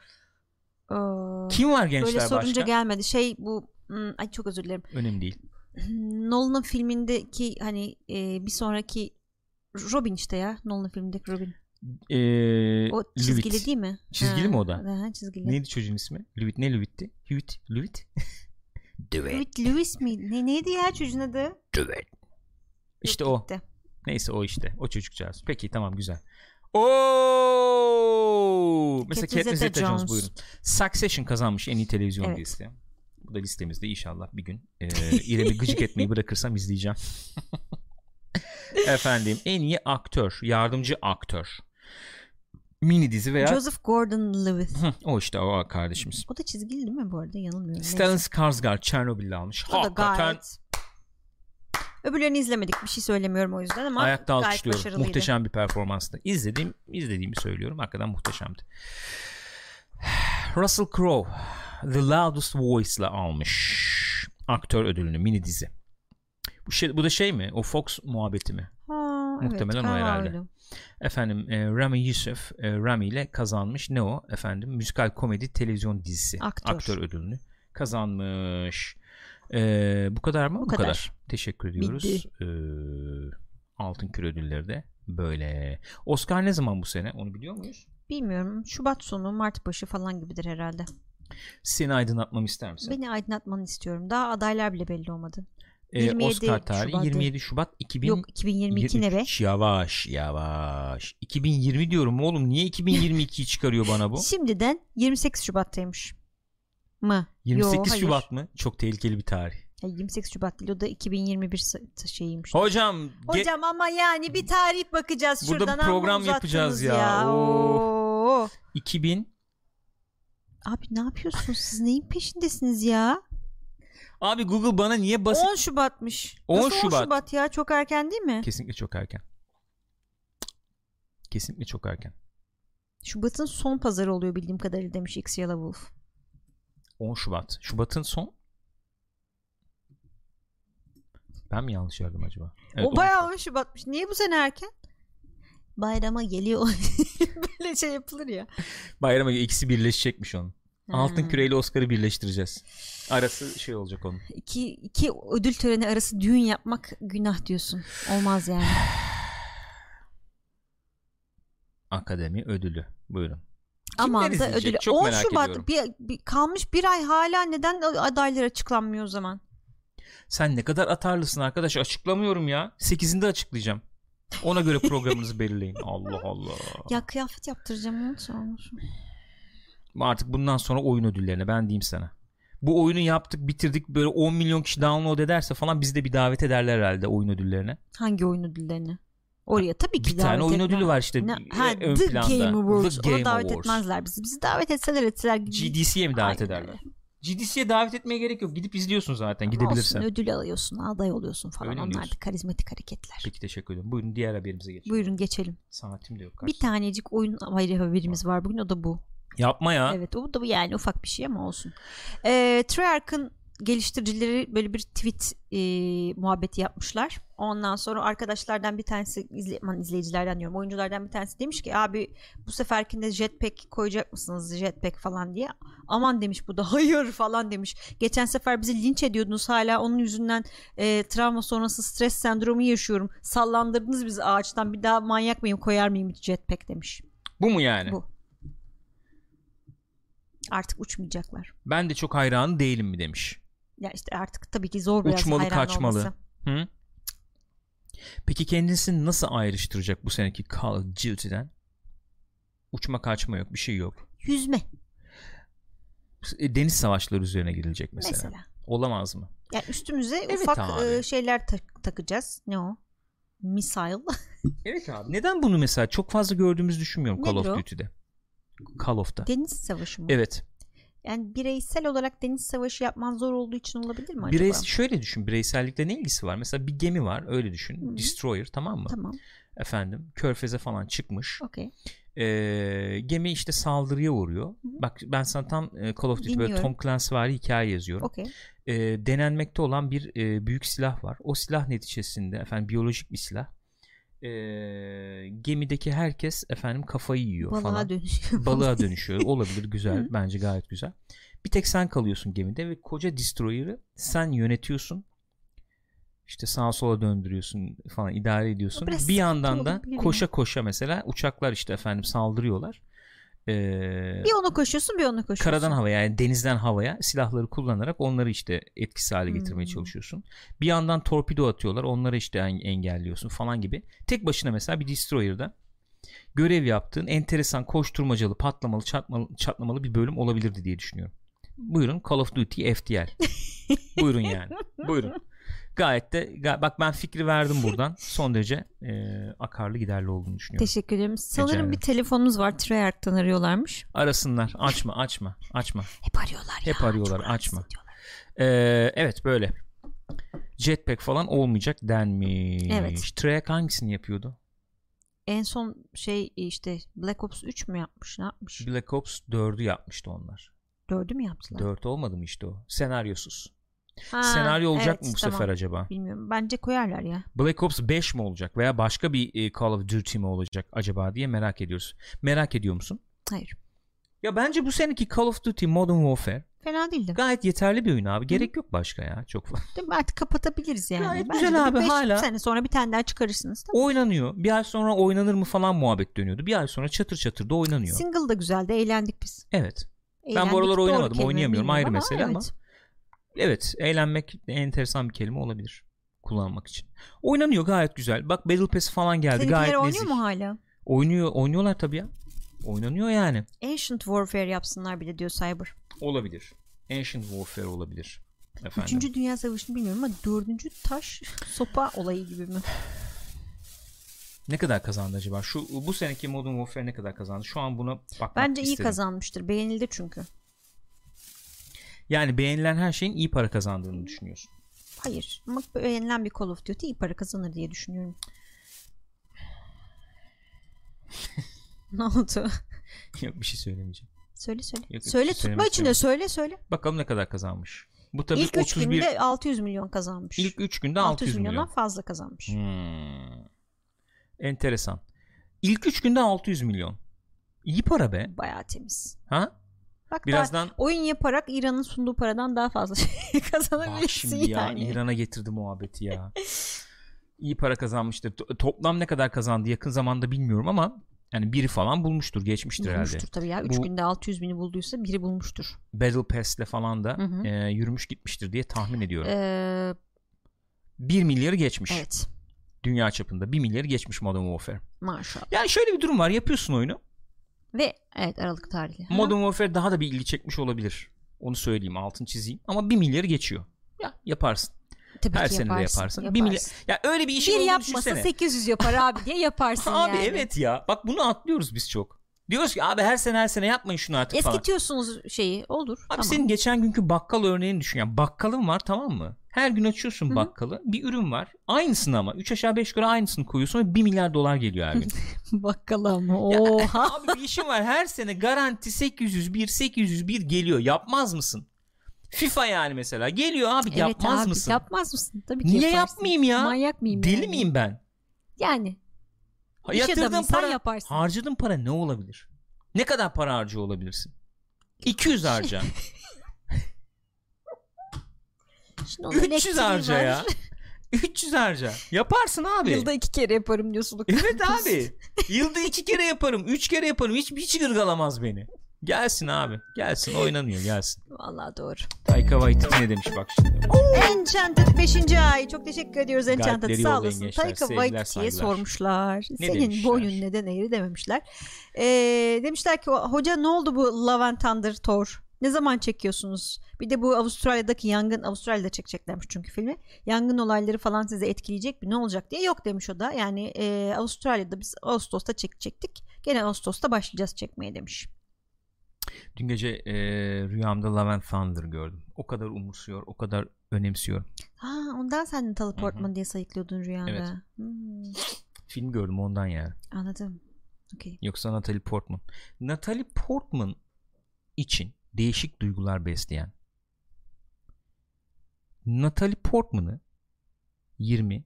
S2: Ee,
S1: Kim var gençler
S2: böyle sorunca
S1: başka?
S2: gelmedi. Şey bu hmm, ay çok özür dilerim.
S1: Önemli değil.
S2: Hmm, Nolan'ın filmindeki hani e, bir sonraki Robin işte ya. Nolan'ın filmindeki Robin.
S1: Ee,
S2: O çizgili
S1: Lewitt.
S2: değil mi?
S1: Çizgili mi o da?
S2: Aha, çizgili.
S1: Neydi çocuğun ismi? Lüvit ne Lüvit'ti? Hüvit, Lüvit. Düvet,
S2: Evet, Lewis mi? Ne, neydi ya çocuğun adı? Yok,
S1: düvet. İşte o.
S2: gitti.
S1: Neyse o işte. O çocukcağız. Peki tamam güzel. Oo! Mesela
S2: Catherine
S1: Catherine
S2: Zeta-Jones.
S1: Zeta-Jones buyurun. Succession kazanmış en iyi televizyon
S2: Evet.
S1: dizisi. Bu da listemizde inşallah bir gün e, İrem'i gıcık etmeyi bırakırsam izleyeceğim. Efendim en iyi aktör, yardımcı aktör. Mini dizi veya
S2: Joseph Gordon-Levitt.
S1: Hı, o işte o kardeşimiz.
S2: O da çizgili değil mi bu arada? Yanılmıyorum.
S1: Stellan Skarsgård Çernobil'de almış.
S2: O da
S1: Hakikaten
S2: gayet. Öbürlerini izlemedik. Bir şey söylemiyorum o yüzden ama
S1: Ayakta
S2: gayet
S1: alkışlıyorum.
S2: başarılıydı.
S1: Muhteşem bir performanstı. İzlediğim, izlediğimi söylüyorum. Hakikaten muhteşemdi. Russell Crowe The Loudest Voice'la almış aktör ödülünü mini dizi. Bu, şey, bu da şey mi? O Fox muhabbeti mi?
S2: Ha,
S1: Muhtemelen o
S2: galiba
S1: herhalde.
S2: öyle.
S1: Efendim e, Rami Yusuf e, Rami ile kazanmış ne o? Efendim müzikal komedi televizyon dizisi
S2: Aktör.
S1: ödülünü kazanmış. E, bu kadar mı? Bu,
S2: kadar.
S1: Teşekkür ediyoruz. E, altın küre ödülleri de böyle. Oscar ne zaman bu sene? Onu biliyor muyuz?
S2: Bilmiyorum. Şubat sonu, Mart başı falan gibidir herhalde.
S1: Seni aydınlatmamı ister misin?
S2: Beni aydınlatmanı istiyorum. Daha adaylar bile belli olmadı.
S1: E,
S2: 27
S1: Oscar tarihi
S2: Şubat'ı.
S1: 27 Şubat 2000
S2: Yok 2022 ne be?
S1: 23. Yavaş yavaş. 2020 diyorum oğlum. Niye 2022'yi çıkarıyor bana bu?
S2: Şimdiden 28 Şubat'taymış. Mı?
S1: 28
S2: Yo, hayır.
S1: Şubat mı? Çok tehlikeli bir tarih.
S2: Ya 28 Şubat değil o da 2021 sa- şeyiymiş.
S1: Hocam, ge-
S2: Hocam ama yani bir tarih bakacağız
S1: Burada
S2: şuradan.
S1: bir program
S2: amma uzattınız
S1: yapacağız ya. Oh. Oo.
S2: Oo.
S1: 2000
S2: Abi ne yapıyorsunuz siz neyin peşindesiniz ya?
S1: Abi Google bana niye basit
S2: 10 Şubat'mış.
S1: 10
S2: Nasıl 10
S1: Şubat?
S2: Şubat ya çok erken değil mi?
S1: Kesinlikle çok erken. Kesinlikle çok erken.
S2: Şubat'ın son pazarı oluyor bildiğim kadarıyla demiş X Yellow Wolf.
S1: 10 Şubat. Şubat'ın son Ben mi yanlış yardım acaba?
S2: o bayağı 10 Şubat'mış. Niye bu sene erken? Bayrama geliyor. Böyle şey yapılır ya.
S1: Bayrama ikisi birleşecekmiş onun.
S2: Hmm.
S1: Altın
S2: Ha.
S1: küreyle Oscar'ı birleştireceğiz. Arası şey olacak onun.
S2: İki, iki ödül töreni arası düğün yapmak günah diyorsun. Olmaz yani.
S1: Akademi ödülü. Buyurun.
S2: Aman da
S1: izleyecek?
S2: ödül.
S1: Çok
S2: 10
S1: merak ediyorum.
S2: Şubat bir, bir- kalmış bir ay hala neden adaylar açıklanmıyor o zaman?
S1: Sen ne kadar atarlısın arkadaş açıklamıyorum ya. 8'inde açıklayacağım. Ona göre programınızı belirleyin. Allah Allah.
S2: Ya kıyafet yaptıracağım onu sormuş.
S1: Artık bundan sonra oyun ödüllerine ben diyeyim sana. Bu oyunu yaptık bitirdik böyle 10 milyon kişi download ederse falan bizi de bir davet ederler herhalde oyun ödüllerine.
S2: Hangi oyun ödüllerini? Oraya tabii ki
S1: bir tane
S2: davet
S1: oyun
S2: etmez.
S1: ödülü var işte
S2: Ne-
S1: e,
S2: ha,
S1: ön
S2: The
S1: planda.
S2: Game Awards.
S1: The Game
S2: Ona davet
S1: Awards.
S2: etmezler bizi. Bizi davet etseler etseler.
S1: GDC'ye mi davet
S2: Aynen
S1: ederler? GDC'ye davet etmeye gerek yok. Gidip izliyorsun zaten gidebilirsen.
S2: Olsun, ödül alıyorsun, aday oluyorsun falan.
S1: Öyle mi
S2: Onlar da
S1: diyorsun?
S2: karizmatik hareketler.
S1: Peki teşekkür ederim. Buyurun diğer haberimize geçelim.
S2: Buyurun geçelim.
S1: Saatim de yok.
S2: Bir tanecik oyun haberi haberimiz var bugün o da bu.
S1: Yapma ya.
S2: Evet o da bu yani ufak bir şey ama olsun. Ee, Treyarch'ın geliştiricileri böyle bir tweet e, muhabbeti yapmışlar. Ondan sonra arkadaşlardan bir tanesi izle, aman izleyicilerden diyorum oyunculardan bir tanesi demiş ki abi bu seferkinde jetpack koyacak mısınız jetpack falan diye. Aman demiş bu da hayır falan demiş. Geçen sefer bizi linç ediyordunuz hala onun yüzünden e, travma sonrası stres sendromu yaşıyorum. Sallandırdınız bizi ağaçtan bir daha manyak mıyım koyar mıyım hiç jetpack demiş.
S1: Bu mu yani?
S2: Bu. Artık uçmayacaklar.
S1: Ben de çok hayranı değilim mi demiş.
S2: Ya işte artık tabii ki zor biraz
S1: Uçmalı,
S2: hayran
S1: kaçmalı.
S2: olması.
S1: Hı? Peki kendisini nasıl ayrıştıracak bu seneki Call of Duty'den? Uçma kaçma yok bir şey yok.
S2: Yüzme
S1: E, Deniz savaşları üzerine girilecek mesela.
S2: mesela.
S1: Olamaz mı?
S2: Yani üstümüze
S1: Evet
S2: ufak
S1: abi.
S2: e, şeyler tak- takacağız. Ne o? Misail.
S1: Evet abi. Neden bunu mesela çok fazla gördüğümüzü düşünmüyorum Call
S2: Nedir
S1: of
S2: o?
S1: Duty'de. Call of'ta.
S2: deniz savaşı mı?
S1: Evet.
S2: Yani bireysel olarak deniz savaşı yapman zor olduğu için olabilir mi acaba?
S1: Bireys şöyle düşün. Bireysellikle ne ilgisi var? Mesela bir gemi var. Öyle düşün.
S2: Hı.
S1: Destroyer tamam mı?
S2: Tamam.
S1: Efendim. Körfeze falan çıkmış.
S2: Okey.
S1: Ee, gemi işte saldırıya uğruyor. Bak ben sana tam e, Call of Duty böyle
S2: Dinliyorum.
S1: Tom Clancy'vari hikaye yazıyorum.
S2: Okey.
S1: Ee, denenmekte olan bir e, büyük silah var. O silah neticesinde efendim biyolojik bir silah. Ee, gemideki herkes efendim kafayı yiyor falan
S2: Balığa dönüşüyor.
S1: balığa dönüşüyor. Olabilir güzel. bence gayet güzel. Bir tek sen kalıyorsun gemide ve koca destroyer'ı sen yönetiyorsun. İşte sağa sola döndürüyorsun falan idare ediyorsun.
S2: Biraz
S1: bir
S2: sıkıntı
S1: yandan da
S2: olabilir ya.
S1: koşa koşa mesela uçaklar işte efendim saldırıyorlar. Ee,
S2: Bir ona koşuyorsun bir ona koşuyorsun.
S1: karadan havaya yani denizden havaya silahları kullanarak onları işte etkisiz hale getirmeye
S2: Hmm.
S1: çalışıyorsun. Bir yandan torpido atıyorlar onları işte en- engelliyorsun falan gibi. Tek başına mesela bir destroyer'da görev yaptığın enteresan koşturmacalı patlamalı çatmalı, çatlamalı bir bölüm olabilirdi diye düşünüyorum. Buyurun Call of Duty FTL. Buyurun yani. Buyurun. Gayet de ga- bak ben fikri verdim buradan. Son derece e, akarlı giderli olduğunu düşünüyorum.
S2: Teşekkür ederim. Sanırım
S1: ederim.
S2: bir telefonumuz var. Treyarch'tan arıyorlarmış.
S1: Arasınlar. Açma, açma, açma.
S2: Hep arıyorlar ya.
S1: Hep arıyorlar,
S2: çok rahatsız
S1: açma.
S2: ediyorlar.
S1: Ee, evet böyle. Jetpack falan olmayacak denmiş.
S2: Evet.
S1: Treyarch hangisini yapıyordu?
S2: En son şey işte Black Ops 3 mü yapmış? Ne yapmış?
S1: Black Ops 4'ü yapmıştı onlar.
S2: 4'ü mü yaptılar?
S1: 4 olmadı mı işte o? Senaryosuz.
S2: Ha,
S1: Senaryo olacak
S2: evet,
S1: mı bu
S2: tamam.
S1: sefer acaba?
S2: Bilmiyorum. Bence koyarlar ya.
S1: Black Ops 5 mi olacak veya başka bir e, Call of Duty mi olacak acaba diye merak ediyoruz. Merak ediyor musun?
S2: Hayır.
S1: Ya bence bu seneki Call of Duty Modern Warfare
S2: Fena değildi.
S1: gayet yeterli bir oyun abi. Gerek yok başka ya. Çok fazla.
S2: Değil mi? Artık kapatabiliriz yani.
S1: Gayet
S2: Bence
S1: güzel
S2: de
S1: abi,
S2: beş
S1: hala.
S2: sene sonra bir tane daha çıkarırsınız. Tamam.
S1: Oynanıyor. Bir ay sonra oynanır mı falan muhabbet dönüyordu. Bir ay sonra çatır çatır da oynanıyor.
S2: Single da güzeldi. Eğlendik biz.
S1: evet.
S2: Eğlendik,
S1: bu aralar
S2: doğru
S1: oynamadım,
S2: kelime
S1: oynayamıyorum,
S2: bilmiyorum
S1: ayrı mesele ama
S2: evet.
S1: Evet eğlenmek enteresan bir kelime olabilir kullanmak için. Oynanıyor gayet güzel. Bak Battle Pass falan geldi
S2: Seninkiler
S1: gayet
S2: oynuyor
S1: nezih.
S2: mu hala?
S1: Oynuyor, oynuyorlar tabii ya. Oynanıyor yani.
S2: Ancient Warfare yapsınlar bile diyor Cyber.
S1: Olabilir. Ancient Warfare olabilir. Efendim.
S2: Üçüncü Dünya Savaşı'nı bilmiyorum ama dördüncü taş sopa olayı gibi mi?
S1: Ne kadar kazandı acaba? Şu bu seneki Modern Warfare ne kadar kazandı? Şu an buna bakmak
S2: Bence iyi
S1: isterim.
S2: kazanmıştır. Beğenildi çünkü.
S1: Yani beğenilen her şeyin iyi para kazandığını düşünüyorsun.
S2: Hayır. Ama beğenilen bir Call of Duty iyi para kazanır diye düşünüyorum. ne oldu?
S1: Yok bir şey söylemeyeceğim.
S2: Söyle söyle.
S1: Yok, yok,
S2: söyle
S1: söylemek
S2: tutma içinde
S1: istemiyorum.
S2: söyle söyle.
S1: Bakalım ne kadar kazanmış. Bu tabii
S2: İlk 3
S1: 31
S2: günde 600 milyon kazanmış.
S1: ilk 3 günde
S2: 600
S1: 600
S2: milyondan
S1: milyon.
S2: fazla kazanmış.
S1: Hmm. Enteresan. İlk 3 günde 600 milyon. İyi para be.
S2: Bayağı temiz.
S1: Ha?
S2: Bak daha
S1: Birazdan
S2: oyun yaparak İran'ın sunduğu paradan daha fazla şey
S1: Bak
S2: kazanabilirsin
S1: şimdi ya
S2: yani.
S1: İran'a getirdi muhabbeti ya. İyi para kazanmıştır. To- toplam ne kadar kazandı yakın zamanda bilmiyorum ama yani biri falan bulmuştur, geçmiştir
S2: bulmuştur
S1: herhalde.
S2: tabii ya. 3
S1: Bu-
S2: günde 600 bini bulduysa biri bulmuştur.
S1: Battle Pass'le falan da
S2: Hı hı.
S1: e, yürümüş gitmiştir diye tahmin ediyorum.
S2: Ee,
S1: 1 milyarı geçmiş.
S2: evet.
S1: Dünya çapında 1 milyarı geçmiş Modern Warfare.
S2: Maşallah.
S1: Yani şöyle bir durum var. Yapıyorsun oyunu.
S2: Ve evet Aralık tarihi. Hı.
S1: Modern Warfare daha da bir ilgi çekmiş olabilir. Onu söyleyeyim, altın çizeyim ama 1 milyarı geçiyor. Ya yaparsın.
S2: Tabii
S1: Her
S2: ki
S1: sene de
S2: yaparsın.
S1: yaparsın. Bir milyar- Ya öyle bir işin
S2: Bir
S1: olduğunu
S2: yapmasa
S1: düşünsene.
S2: 800 yapar abi diye yaparsın
S1: Abi
S2: yani.
S1: evet ya. Bak bunu atlıyoruz biz çok. Diyoruz ki abi her sene her sene yapmayın şunu artık falan. Abi
S2: Eskitiyorsunuz şeyi olur. tamam.
S1: senin geçen günkü bakkal örneğini düşün. Yani bakkalın var tamam mı? Her gün açıyorsun
S2: Hı hı.
S1: bakkalı. Bir ürün var. Aynısını ama. 3 aşağı 5 yukarı aynısını koyuyorsun ve 1 milyar dolar geliyor her gün.
S2: Bakkala mı? Oha.
S1: abi bir işin var. Her sene garanti 801 801 geliyor. Yapmaz mısın? FIFA yani mesela. Geliyor abi
S2: Evet
S1: yapmaz
S2: abi,
S1: mısın?
S2: Yapmaz mısın? Tabii ki
S1: Niye
S2: yaparsın.
S1: yapmayayım ya?
S2: Manyak mıyım?
S1: Deli
S2: yani?
S1: miyim ben?
S2: Yani.
S1: Ha,
S2: İş
S1: yatırdığın
S2: adamıysan
S1: para-
S2: yaparsın.
S1: Harcadığın para ne olabilir? Ne kadar para harcıyor olabilirsin? 200 harca.
S2: Şimdi onun
S1: 300
S2: elektriği
S1: harca
S2: var.
S1: ya. 300 harca. Yaparsın abi.
S2: Yılda iki kere yaparım diyorsun.
S1: Evet abi. Yılda iki kere yaparım. Üç kere yaparım. Hiç, hiç gırgalamaz beni. Gelsin abi. Gelsin. Oynanıyor gelsin.
S2: Vallahi doğru.
S1: Taika Waititi ne demiş bak şimdi.
S2: Enchanted 5. ay. Çok teşekkür ediyoruz Enchanted.
S1: Galipleri
S2: Sağ
S1: yollayın
S2: olasın.
S1: gençler.
S2: Taika
S1: Sevgiler,
S2: Waititi'ye
S1: saygılar.
S2: sormuşlar.
S1: Ne
S2: Senin
S1: demişler?
S2: boyun neden eğri dememişler. Ee, demişler ki hoca ne oldu bu Love and Thunder Thor? Ne zaman çekiyorsunuz? Bir de bu Avustralya'daki yangın Avustralya'da çekeceklermiş çünkü filmi. Yangın olayları falan sizi etkileyecek mi? Ne olacak diye yok demiş o da. Yani e, Avustralya'da biz Ağustos'ta çekecektik. Gene Ağustos'ta başlayacağız çekmeye demiş.
S1: Dün gece e, rüyamda Love and Thunder gördüm. O kadar umursuyor. O kadar önemsiyor.
S2: Ha, ondan sen Natalie Portman diye sayıklıyordun rüyanda.
S1: Evet.
S2: Hmm,
S1: Film gördüm ondan yani.
S2: anladım. Okey.
S1: Yoksa Natalie Portman. Natalie Portman için değişik duygular besleyen Natalie Portman'ı 20,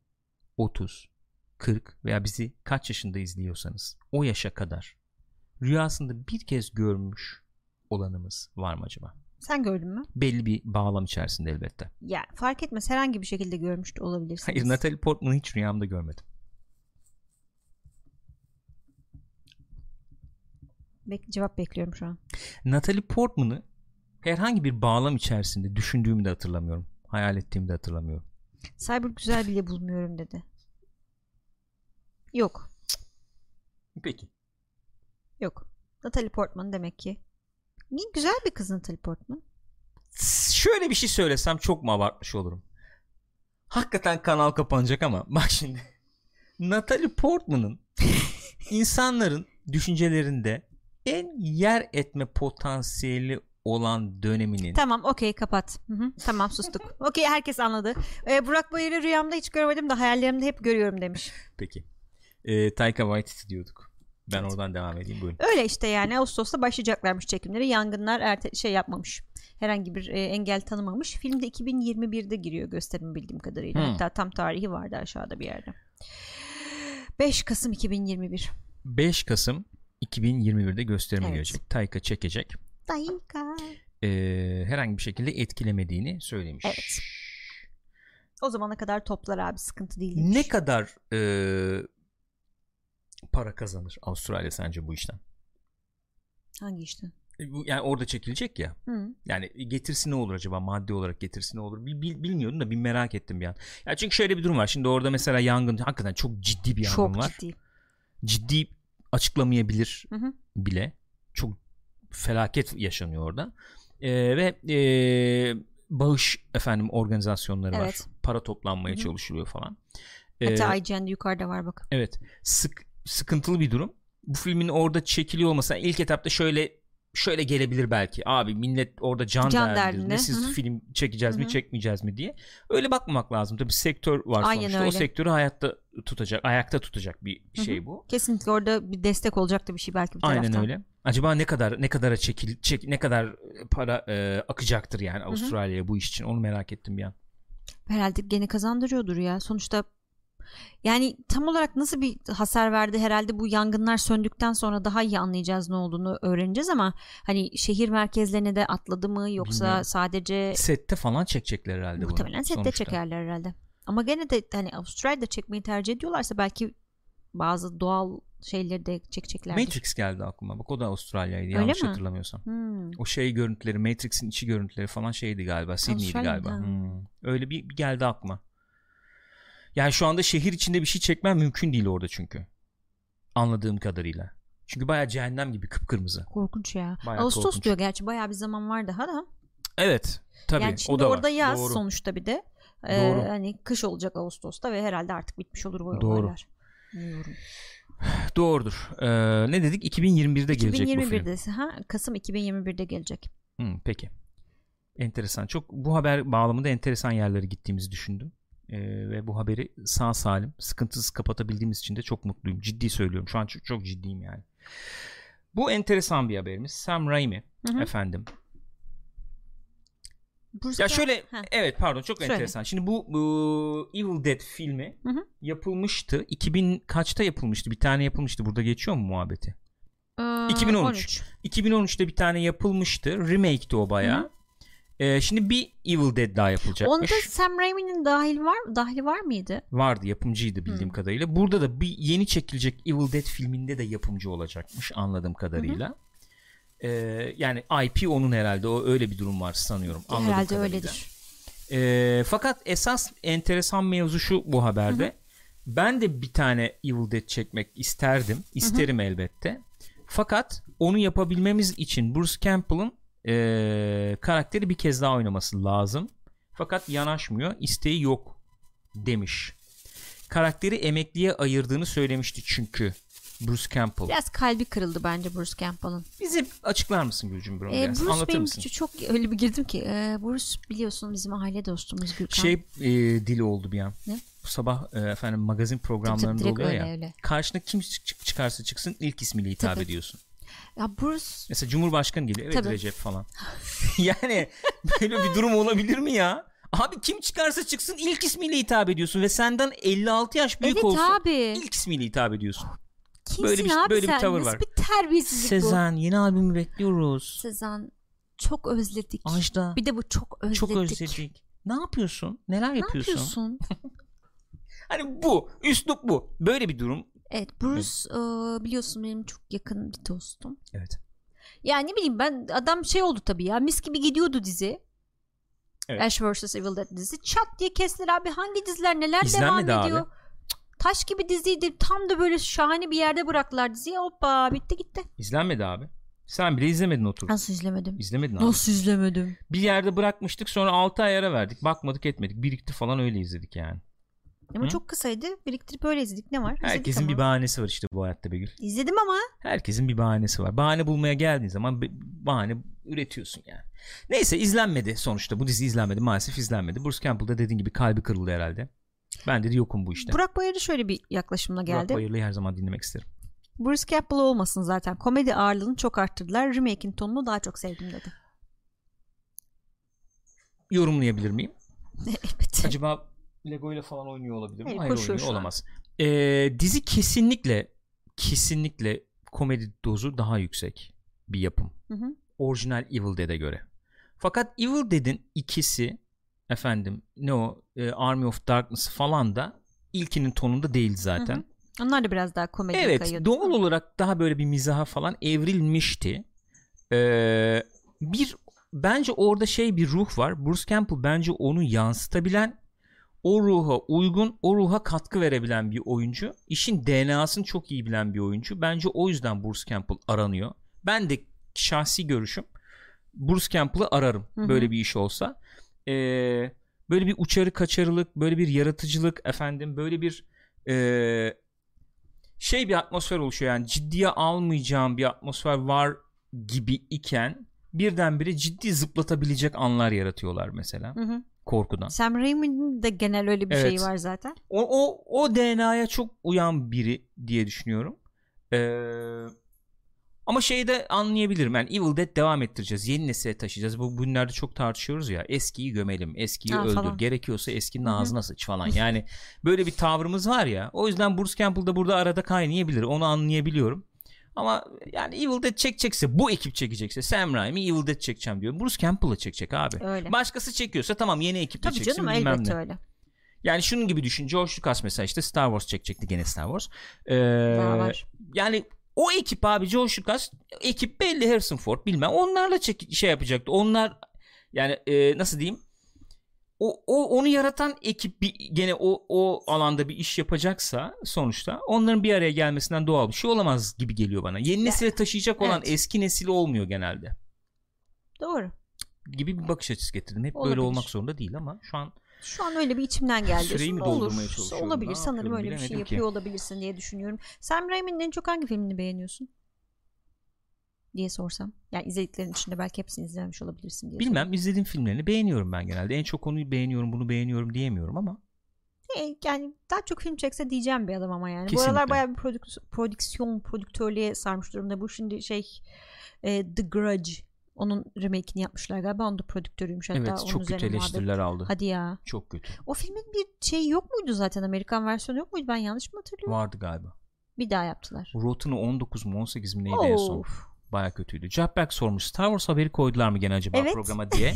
S1: 30, 40 veya bizi kaç yaşında izliyorsanız o yaşa kadar rüyasında bir kez görmüş olanımız var mı acaba?
S2: Sen gördün mü?
S1: Belli bir bağlam içerisinde elbette.
S2: Ya fark etmez herhangi bir şekilde görmüş de olabilirsiniz.
S1: Hayır Natalie Portman'ı hiç rüyamda görmedim.
S2: Bek- cevap bekliyorum şu an.
S1: Natalie Portman'ı herhangi bir bağlam içerisinde düşündüğümü de hatırlamıyorum. Hayal ettiğimi de hatırlamıyorum.
S2: Cyborg güzel bile bulmuyorum dedi. Yok.
S1: Peki.
S2: Yok. Natalie Portman demek ki. Niye güzel bir kız Natalie Portman?
S1: Şöyle bir şey söylesem çok mu abartmış olurum? Hakikaten kanal kapanacak ama bak şimdi. Natalie Portman'ın insanların düşüncelerinde en yer etme potansiyeli olan döneminin
S2: Tamam okey kapat. Hı hı, tamam sustuk. okey herkes anladı. Ee, Burak Bayır'ı rüyamda hiç görmedim de hayallerimde hep görüyorum demiş.
S1: peki. Ee, Taika Waititi diyorduk. Ben oradan devam edeyim buyurun.
S2: Öyle işte yani Ağustos'ta başlayacaklarmış çekimleri. Yangınlar erte- şey yapmamış. Herhangi bir e, engel tanımamış. Filmde 2021'de giriyor gösterim bildiğim kadarıyla.
S1: Hmm.
S2: Hatta tam tarihi vardı aşağıda bir yerde. 5 Kasım 2021.
S1: 5 Kasım 2021'de gösterime
S2: Evet.
S1: girecek. Taika çekecek.
S2: Dakika.
S1: Ee, herhangi bir şekilde etkilemediğini söylemiş.
S2: Evet. O zamana kadar toplar abi sıkıntı değil. demiş.
S1: Ne kadar e, para kazanır Avustralya sence bu işten?
S2: Hangi işte?
S1: E, bu- Yani orada çekilecek ya.
S2: Hı.
S1: Yani e, getirisi ne olur acaba maddi olarak getirisi ne olur Bil- bil- bilmiyordum da bir merak ettim bir an. Ya çünkü şöyle bir durum var. Şimdi orada mesela yangın hakikaten çok ciddi bir yangın
S2: Çok
S1: var.
S2: ciddi.
S1: Ciddi. açıklamayabilir
S2: Hı hı.
S1: bile. Çok felaket yaşanıyor orada. E, ve e, bağış efendim organizasyonları var.
S2: Evet.
S1: Para toplanmaya
S2: Hı hı.
S1: çalışılıyor falan. E,
S2: Hatta IGN'de yukarıda var bak.
S1: Evet. Sık sıkıntılı bir durum. Bu filmin orada çekiliyor olması yani ilk etapta şöyle şöyle gelebilir belki. Abi millet orada can,
S2: Can
S1: derdinde.
S2: derdinde,
S1: Siz
S2: hı hı.
S1: film çekeceğiz
S2: Hı
S1: mi,
S2: hı.
S1: çekmeyeceğiz mi diye. Öyle bakmamak lazım. Tabii sektör var
S2: Aynen
S1: sonuçta. O
S2: öyle.
S1: sektörü hayatta tutacak, ayakta tutacak bir
S2: Hı hı.
S1: şey bu.
S2: Kesinlikle orada bir destek olacak da bir şey belki bir taraftan.
S1: Aynen öyle. Acaba ne kadar ne kadara çekil çek ne kadar para e, akacaktır yani Avustralya'ya bu iş için onu merak ettim bir an.
S2: Herhalde gene kazandırıyordur ya. Sonuçta yani tam olarak nasıl bir hasar verdi herhalde bu yangınlar söndükten sonra daha iyi anlayacağız ne olduğunu öğreneceğiz ama hani şehir merkezlerine de atladı mı yoksa
S1: Bilmiyorum.
S2: sadece
S1: Sette falan çekecekler herhalde bunu
S2: E, muhtemelen sette
S1: sonuçta.
S2: çekerler herhalde. Ama gene de hani Avustralya'da çekmeyi tercih ediyorlarsa belki bazı doğal şeyleri de çekecekler.
S1: Matrix geldi aklıma. Bak o da Avustralya'ydı
S2: Öyle
S1: yanlış
S2: mi?
S1: hatırlamıyorsam.
S2: Hmm,
S1: O şey görüntüleri Matrix'in içi görüntüleri falan şeydi galiba. Sydney'di
S2: Avustralya
S1: galiba.
S2: mıydı?
S1: Hmm. Öyle bir, bir geldi aklıma. Yani şu anda şehir içinde bir şey çekmen mümkün değil orada çünkü. Anladığım kadarıyla. Çünkü bayağı cehennem gibi kıpkırmızı.
S2: Korkunç ya.
S1: Bayağı
S2: Ağustos
S1: korkunç.
S2: diyor gerçi bayağı bir zaman var daha da.
S1: Evet. Tabii
S2: yani
S1: o
S2: şimdi
S1: da
S2: orada
S1: var.
S2: yaz
S1: Doğru.
S2: sonuçta bir de. Ee,
S1: Doğru.
S2: Hani kış olacak Ağustos'ta ve herhalde artık bitmiş olur bu
S1: Doğru.
S2: olaylar. Bilmiyorum.
S1: Doğrudur. Ee, ne dedik? 2021'de gelecek bu film.
S2: 2021'de ha Kasım 2021'de gelecek.
S1: Hı, peki. Enteresan. Çok bu haber bağlamında enteresan yerlere gittiğimizi düşündüm. Ee, ve bu haberi sağ salim, sıkıntısız kapatabildiğimiz için de çok mutluyum. Ciddi söylüyorum. Şu an çok, çok ciddiyim yani. Bu enteresan bir haberimiz. Sam Raimi
S2: Hı hı.
S1: efendim.
S2: Bruce
S1: Ya
S2: Ca-
S1: şöyle
S2: Ha.
S1: evet pardon çok
S2: Söyle.
S1: enteresan. Şimdi bu, bu Evil Dead filmi
S2: Hı hı.
S1: yapılmıştı. 2000 kaçta yapılmıştı? Bir tane yapılmıştı. Burada geçiyor mu muhabbeti?
S2: Ee,
S1: 2013. 2013'te bir tane yapılmıştı. Remake'ti o
S2: Hı
S1: bayağı. Ee, şimdi bir Evil Dead daha
S2: Onda
S1: yapılacakmış.
S2: Sam Raimi'nin dahil var dahli var mıydı?
S1: Vardı yapımcıydı bildiğim
S2: Hı.
S1: kadarıyla. Burada da bir yeni çekilecek Evil Dead filminde de yapımcı olacakmış anladığım kadarıyla. Ee, yani IP onun herhalde o öyle bir durum var sanıyorum. Anladığım
S2: herhalde
S1: kadarıyla.
S2: öyledir.
S1: Ee, fakat esas enteresan mevzu şu bu haberde. Ben de bir tane Evil Dead çekmek isterdim. İsterim elbette. Fakat onu yapabilmemiz için Bruce Campbell'ın ee, karakteri bir kez daha oynaması lazım. Fakat yanaşmıyor. isteği yok demiş. Karakteri emekliye ayırdığını söylemişti çünkü Bruce Campbell.
S2: Biraz kalbi kırıldı bence Bruce Campbell'ın.
S1: Bize açıklar mısın Gülcüm bunu?
S2: Ee,
S1: biraz?
S2: Bruce
S1: Anlatır
S2: benim
S1: mısın?
S2: çok öyle bir girdim ki. Ee, Bruce biliyorsun bizim aile dostumuz Gürkan.
S1: Şey e, dili oldu bir an.
S2: Ne?
S1: Bu sabah e, efendim magazin
S2: Tabii,
S1: programlarında
S2: tabii, direkt
S1: oluyor ya.
S2: öyle, öyle.
S1: Karşına kim çık- çıkarsa çıksın ilk ismiyle hitap
S2: Tabii.
S1: ediyorsun.
S2: Ya Bruce
S1: Mesela Cumhurbaşkanı geliyor. Evet
S2: Tabii.
S1: Recep falan. yani böyle bir durum olabilir mi ya? Abi kim çıkarsa çıksın ilk ismiyle hitap ediyorsun ve senden 56 yaş büyük
S2: Evet
S1: olsun
S2: abi.
S1: ilk ismiyle hitap ediyorsun.
S2: Kimsin
S1: Böyle bir-
S2: abi
S1: böyle bir
S2: sen?
S1: tavır
S2: Nasıl
S1: var.
S2: bir terbiyesizlik bu?
S1: Sezen yeni albümü bekliyoruz.
S2: Sezen. Çok özledik.
S1: Ajda
S2: Bir de bu çok özledik.
S1: çok özledik. Ne yapıyorsun? Neler
S2: Ne
S1: yapıyorsun?
S2: yapıyorsun?
S1: Hani bu üslup bu. Böyle bir durum.
S2: evet Bruce e, biliyorsun benim çok yakın bir dostum.
S1: Evet.
S2: Yani ne bileyim ben adam şey oldu tabii ya mis gibi gidiyordu dizi.
S1: Evet.
S2: Ash vs Evil Dead dizisi. Çat diye kestiler abi hangi diziler neler
S1: İzlenmedi
S2: devam
S1: abi.
S2: ediyor. Cık, Taş gibi diziydi. Tam da böyle şahane bir yerde bıraktılar diziyi. Hoppa bitti gitti.
S1: İzlenmedi abi. Sen bile izlemedin oturup.
S2: Nasıl izlemedim?
S1: İzlemedin abi.
S2: Nasıl izlemedim?
S1: Bir yerde bırakmıştık sonra 6 ay ara verdik. Bakmadık etmedik. Birikti falan öyle izledik yani.
S2: Ama
S1: Hı?
S2: çok kısaydı. Biriktirip öyle izledik. Ne var? İzledik
S1: Herkesin
S2: ama.
S1: bir bahanesi var işte bu hayatta Begül.
S2: İzledim ama
S1: Herkesin bir bahanesi var. Bahane bulmaya geldiğin zaman bir bahane üretiyorsun yani. Neyse izlenmedi sonuçta. Bu dizi izlenmedi. Maalesef izlenmedi. Bruce Campbell da dediğin gibi kalbi kırıldı herhalde. Ben dedi yokum bu işte.
S2: Burak Bayır'ı şöyle bir
S1: Burak
S2: yaklaşımla geldi.
S1: Bayırlı'yı her zaman dinlemek isterim.
S2: Bruce Campbell olmasın zaten. Komedi ağırlığını çok arttırdılar. Remake'in tonunu daha çok sevdim dedi.
S1: Yorumlayabilir miyim?
S2: Elbette.
S1: Acaba Lego ile falan oynuyor olabilir mi?
S2: Hayır,
S1: Hayır
S2: koşuyor
S1: oynuyor
S2: şu an.
S1: olamaz. Ee, dizi kesinlikle kesinlikle komedi dozu daha yüksek bir yapım.
S2: Hı hı.
S1: Orijinal Evil Dead'e göre. Fakat Evil Dead'in ikisi efendim ne o e, Army of Darkness falan da ilkinin tonunda değil zaten.
S2: Hı hı. Onlar da biraz daha komedi
S1: Evet
S2: kayıyordu.
S1: doğal olarak daha böyle bir mizaha falan evrilmişti. Ee, bir bence orada şey bir ruh var. Bruce Campbell bence onu yansıtabilen o ruha uygun, o ruha katkı verebilen bir oyuncu. İşin DNA'sını çok iyi bilen bir oyuncu. Bence o yüzden Bruce Campbell aranıyor. Ben de şahsi görüşüm Bruce Campbell'ı ararım
S2: Hı hı.
S1: böyle bir iş olsa. Ee, böyle bir uçarı kaçarılık, böyle bir yaratıcılık efendim, böyle bir ee, şey bir atmosfer oluşuyor yani ciddiye almayacağım bir atmosfer var gibi iken birdenbire ciddi zıplatabilecek anlar yaratıyorlar mesela
S2: Hı hı.
S1: korkudan.
S2: Sam Raimi'nin de genel öyle bir
S1: Evet.
S2: şeyi var zaten.
S1: O, o, o DNA'ya çok uyan biri diye düşünüyorum. Ee, Ama şeyi de anlayabilirim. Yani Evil Dead devam ettireceğiz. Yeni nesile taşıyacağız. Bu günlerde çok tartışıyoruz ya. Eskiyi gömelim. Eskiyi
S2: Ha,
S1: öldür.
S2: falan.
S1: Gerekiyorsa eskinin ağzına sıç falan. Yani böyle bir tavrımız var ya. O yüzden Bruce Campbell da burada arada kaynayabilir. Onu anlayabiliyorum. Ama yani Evil Dead çekecekse bu ekip çekecekse Sam Raimi Evil Dead çekeceğim diyor. Bruce Campbell'ı çekecek abi.
S2: Öyle.
S1: Başkası çekiyorsa tamam yeni ekiple
S2: Tabii
S1: çeksin
S2: canım
S1: bilmem
S2: elbette
S1: ne.
S2: öyle.
S1: Yani şunun gibi düşün. George Lucas mesela işte Star Wars çekecekti gene Star Wars. Ee,
S2: Daha var.
S1: yani o ekip abi George Lucas ekip belli Harrison Ford bilmem onlarla çek- şey yapacaktı. Onlar yani e, nasıl diyeyim? O, o onu yaratan ekip bir, gene o o alanda bir iş yapacaksa sonuçta onların bir araya gelmesinden doğal bir şey olamaz gibi geliyor bana. Yeni nesile taşıyacak olan
S2: evet.
S1: eski nesil olmuyor genelde
S2: Doğru.
S1: gibi bir bakış açısı getirdim. Hep böyle
S2: Olabilir.
S1: olmak zorunda değil ama şu an
S2: Şu an öyle bir içimden geldi.
S1: Süreyi mi
S2: Olur.
S1: doldurmaya çalışıyorum?
S2: Olabilir.
S1: Ne
S2: Sanırım
S1: yapıyorum?
S2: öyle bir şey
S1: Bilemedim ki.
S2: yapıyor olabilirsin diye düşünüyorum. Sam Raimi'nin en çok hangi filmini beğeniyorsun? diye sorsam. Yani izlediklerin içinde belki hepsini izlemiş olabilirsin diye.
S1: Bilmem izlediğim filmlerini beğeniyorum ben genelde. En çok onu beğeniyorum, bunu beğeniyorum diyemiyorum ama
S2: soruyorum. E, yani daha çok film çekse diyeceğim bir adam ama yani. Bu
S1: Kesinlikle.
S2: aralar bayağı bir prodük- prodüksiyon, prodüktörlüğe sarmış durumda. Bu şimdi şey e, The Grudge. Onun remake'ini yapmışlar galiba. Onun da prodüktörüymüş hatta.
S1: evet
S2: onun
S1: çok
S2: üzerine
S1: kötü
S2: muhabbet-
S1: eleştiriler aldı.
S2: Hadi ya.
S1: Çok kötü.
S2: O filmin bir şeyi yok muydu zaten? Amerikan versiyonu yok muydu? Ben yanlış mı hatırlıyorum?
S1: Vardı galiba.
S2: Bir daha yaptılar.
S1: Rotun'u 19 mu 18 mi neydi en son? Baya kötüydü. Jackback sormuş Star Wars haberi koydular mı gene acaba
S2: Evet.
S1: programa diye.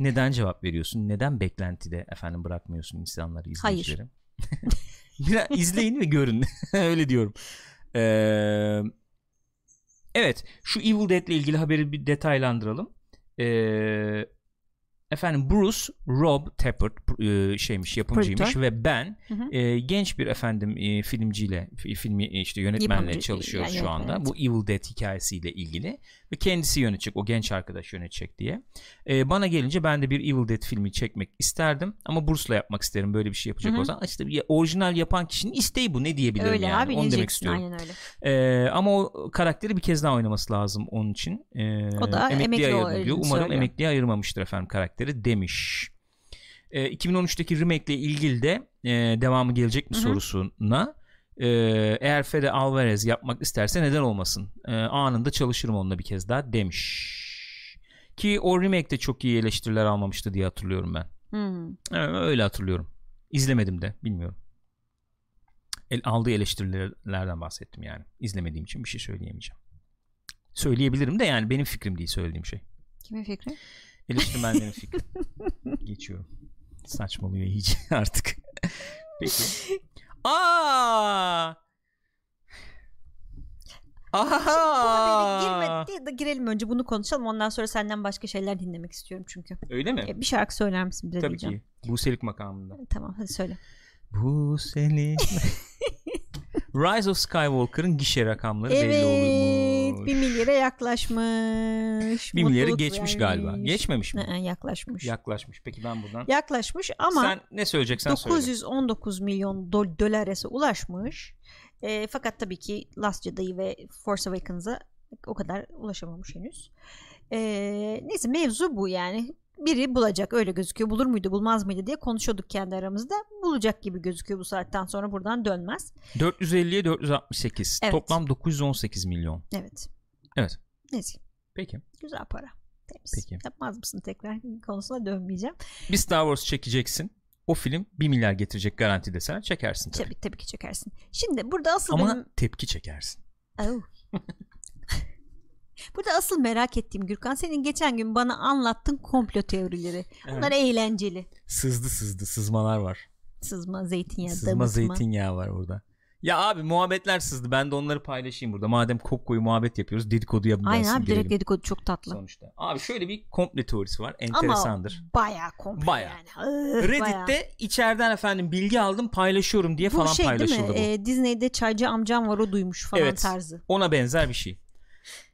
S1: Neden cevap veriyorsun? Neden beklentide efendim bırakmıyorsun insanları
S2: Hayır.
S1: izleyicileri? Biraz izleyin ve görün. Öyle diyorum. Ee, evet şu Evil Dead ile ilgili haberi bir detaylandıralım. Ee, efendim Bruce Rob Tappert e, şeymiş yapımcıymış
S2: Prodüktör.
S1: ve ben
S2: Hı hı.
S1: e, genç bir efendim e, filmciyle fi- filmi e, işte yönetmenle
S2: Yapımcı-
S1: çalışıyoruz
S2: yani
S1: şu
S2: yönetmen,
S1: anda.
S2: evet.
S1: Bu Evil Dead hikayesiyle ilgili ve kendisi yönetecek o genç arkadaş yönetecek diye. E, bana gelince ben de bir Evil Dead filmi çekmek isterdim ama Bruce'la yapmak isterim böyle bir şey yapacak
S2: Hı hı.
S1: o zaman. İşte bir orijinal yapan kişinin isteği bu ne diyebilirim
S2: Öyle
S1: yani
S2: abi
S1: onu demek
S2: diyeceksin,
S1: istiyorum.
S2: Aynen öyle.
S1: Ee, ama o karakteri bir kez daha oynaması lazım onun için. Ee,
S2: O da emekli
S1: ayırdı
S2: olduğunu
S1: diyor. Umarım
S2: söylüyor.
S1: emekliye ayırmamıştır efendim karakteri demiş. Ee, 2013'teki remake ile ilgili de e, devamı gelecek mi
S2: Hı hı.
S1: sorusuna e, eğer Fede Alvarez yapmak isterse neden olmasın? E, anında çalışırım onunla bir kez daha demiş. Ki o remake de çok iyi eleştiriler almamıştı diye hatırlıyorum ben.
S2: Hmm.
S1: Ee, Öyle hatırlıyorum. İzlemedim de bilmiyorum. El, aldığı eleştirilerden bahsettim yani. İzlemediğim için bir şey söyleyemeyeceğim. Söyleyebilirim de yani benim fikrim değil söylediğim şey.
S2: Kimin fikri?
S1: Eleştirmenlerin fikri. Geçiyorum. Saçmalıyor iyice artık. Peki. Aa!
S2: Bu haberi
S1: Aha!
S2: girmedi de girelim önce bunu konuşalım. Ondan sonra senden başka şeyler dinlemek istiyorum çünkü.
S1: Öyle mi?
S2: E, bir şarkı söyler misin bize
S1: Tabii
S2: diyeceğim.
S1: ki. Buselik makamında.
S2: Tamam hadi söyle.
S1: Bu seni. Rise of Skywalker'ın gişe rakamları belli
S2: Evet
S1: oluyormuş.
S2: bir milyara yaklaşmış.
S1: Bir milyarı
S2: Mutluluk
S1: geçmiş galiba.
S2: vermiş.
S1: Geçmemiş mi?
S2: Hı hı, yaklaşmış.
S1: Yaklaşmış. Peki ben buradan.
S2: yaklaşmış ama
S1: Sen ne söyleyeceksen söyle.
S2: 919 milyon do- dolarese ulaşmış. E, fakat tabii ki Last Jedi ve Force Awakens'a o kadar ulaşamamış henüz. E, neyse mevzu bu yani. Biri bulacak öyle gözüküyor. Bulur muydu bulmaz mıydı diye konuşuyorduk kendi aramızda. Bulacak gibi gözüküyor bu saatten sonra buradan dönmez.
S1: 450'ye 468.
S2: Evet.
S1: Toplam 918 milyon.
S2: Evet.
S1: Evet.
S2: Neyse
S1: Peki.
S2: güzel para. Temiz.
S1: Peki.
S2: Yapmaz mısın tekrar konusuna dönmeyeceğim.
S1: Bir Star Wars çekeceksin. O film 1 milyar getirecek garanti desen çekersin tabii.
S2: Tabii, tabii ki çekersin. Şimdi burada asıl
S1: Ama
S2: benim
S1: tepki çekersin.
S2: Au. Burada asıl merak ettiğim Gürkan senin geçen gün bana anlattın komplo teorileri. Bunlar eğlenceli.
S1: Sızdı sızdı sızmalar var.
S2: Sızma, zeytinyağı,
S1: Sızma
S2: damıtma.
S1: zeytinyağı var burada. Ya abi muhabbetler sızdı. Ben de onları paylaşayım burada. Madem kopkoyu muhabbet yapıyoruz dedikodu yapmayalım.
S2: Aynen abi direkt dedikodu çok tatlı.
S1: sonuçta. Abi şöyle bir komple teorisi var.
S2: Ama
S1: Enteresandır.
S2: bayağı komplo
S1: Bayağı.
S2: yani. Ih, bayağı.
S1: Reddit'te içeriden efendim bilgi aldım paylaşıyorum diye
S2: bu
S1: falan
S2: şey değil mi?
S1: paylaşıldı bu.
S2: Ee, Disney'de çaycı amcam var o duymuş falan
S1: Evet.
S2: tarzı.
S1: Ona benzer bir şey.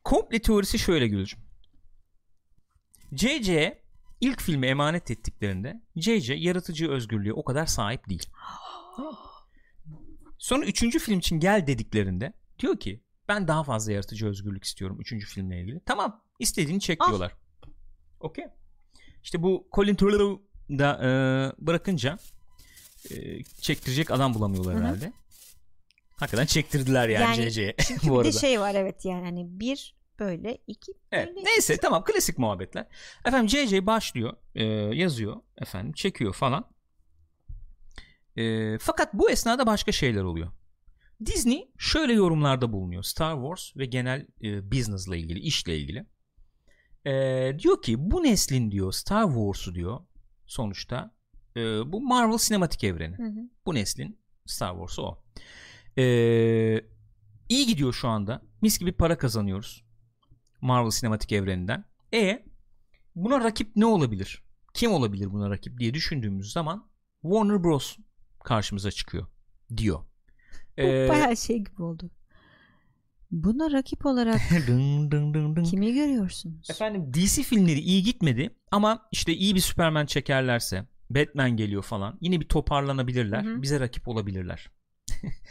S1: Komple teorisi şöyle Gülcüm. CC ilk filmi emanet ettiklerinde CC yaratıcı özgürlüğe o kadar sahip değil. Tamam mı? Sonra üçüncü film için gel dediklerinde diyor ki ben daha fazla yaratıcı özgürlük istiyorum üçüncü filmle ilgili. Tamam istediğini çek
S2: Al.
S1: diyorlar. Okey. İşte bu Colin Trevorrow'u da e, bırakınca e, çektirecek adam bulamıyorlar
S2: Hı hı.
S1: herhalde. Hakikaten çektirdiler yani,
S2: Yani
S1: CC'ye
S2: Bir
S1: bu arada.
S2: de şey var evet yani hani bir böyle iki
S1: Evet.
S2: böyle.
S1: Neyse tamam klasik muhabbetler. Efendim CC başlıyor, e, yazıyor efendim, çekiyor falan. E, fakat bu esnada başka şeyler oluyor. Disney şöyle yorumlarda bulunuyor Star Wars ve genel e, business'la ilgili, işle ilgili. E, diyor ki bu neslin diyor Star Wars'u diyor sonuçta e, bu Marvel sinematik evreni.
S2: Hı hı.
S1: Bu neslin Star Wars'ı o. Ee, iyi gidiyor şu anda. Mis gibi para kazanıyoruz. Marvel sinematik evreninden. E buna rakip ne olabilir? Kim olabilir buna rakip diye düşündüğümüz zaman Warner Bros karşımıza çıkıyor diyor.
S2: Bu
S1: Ee,
S2: bayağı şey gibi oldu. Buna rakip olarak
S1: dın dın dın dın.
S2: kimi görüyorsunuz?
S1: Efendim DC filmleri iyi gitmedi ama işte iyi bir Superman çekerlerse Batman geliyor falan yine bir toparlanabilirler.
S2: Hı hı.
S1: Bize rakip olabilirler.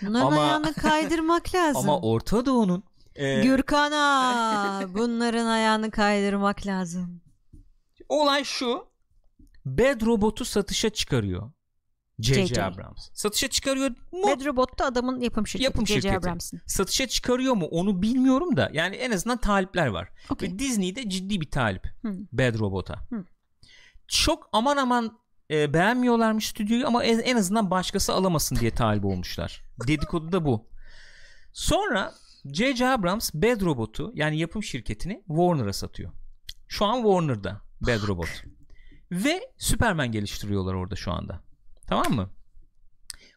S2: Bunların
S1: Ama-
S2: ayağını kaydırmak lazım.
S1: Ama Orta Doğu'nun e,
S2: Gürkan ağa, bunların ayağını kaydırmak lazım.
S1: Olay şu. Bad Robot'u satışa çıkarıyor.
S2: J.J.
S1: J.J. Abrams. Satışa çıkarıyor mu?
S2: Bad Robot da adamın yapım şirketi.
S1: Yapım
S2: J.J.
S1: şirketi.
S2: Abrams'ın.
S1: Satışa çıkarıyor mu onu bilmiyorum da yani en azından talipler var.
S2: Okey.
S1: Ve Disney'de ciddi bir talip
S2: Hı.
S1: Bad Robot'a.
S2: Hı.
S1: Çok aman aman e, beğenmiyorlarmış stüdyoyu ama en, en azından başkası alamasın diye talip olmuşlar. Dedikodu da bu. Sonra J.J. Abrams Bad Robot'u yani yapım şirketini Warner'a satıyor. Şu an Warner'da
S2: Ah,
S1: Bad Robot. Ve Superman geliştiriyorlar orada şu anda. Tamam mı?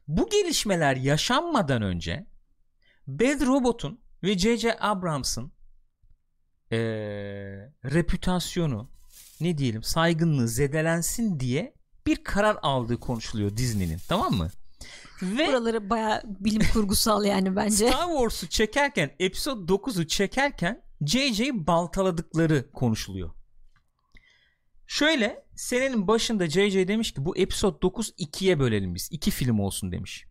S1: Bu gelişmeler yaşanmadan önce Bad Robot'un ve J.J. Abrams'ın eee repütasyonu ne diyelim saygınlığı zedelensin diye bir karar aldığı konuşuluyor Disney'nin tamam mı? Ve
S2: Buraları baya bilim kurgusal yani bence.
S1: Star Wars'u çekerken Episode 9'u çekerken JJ'yi baltaladıkları konuşuluyor. Şöyle senenin başında JJ demiş ki bu Episode 9 ikiye bölelim biz. iki film olsun demiş.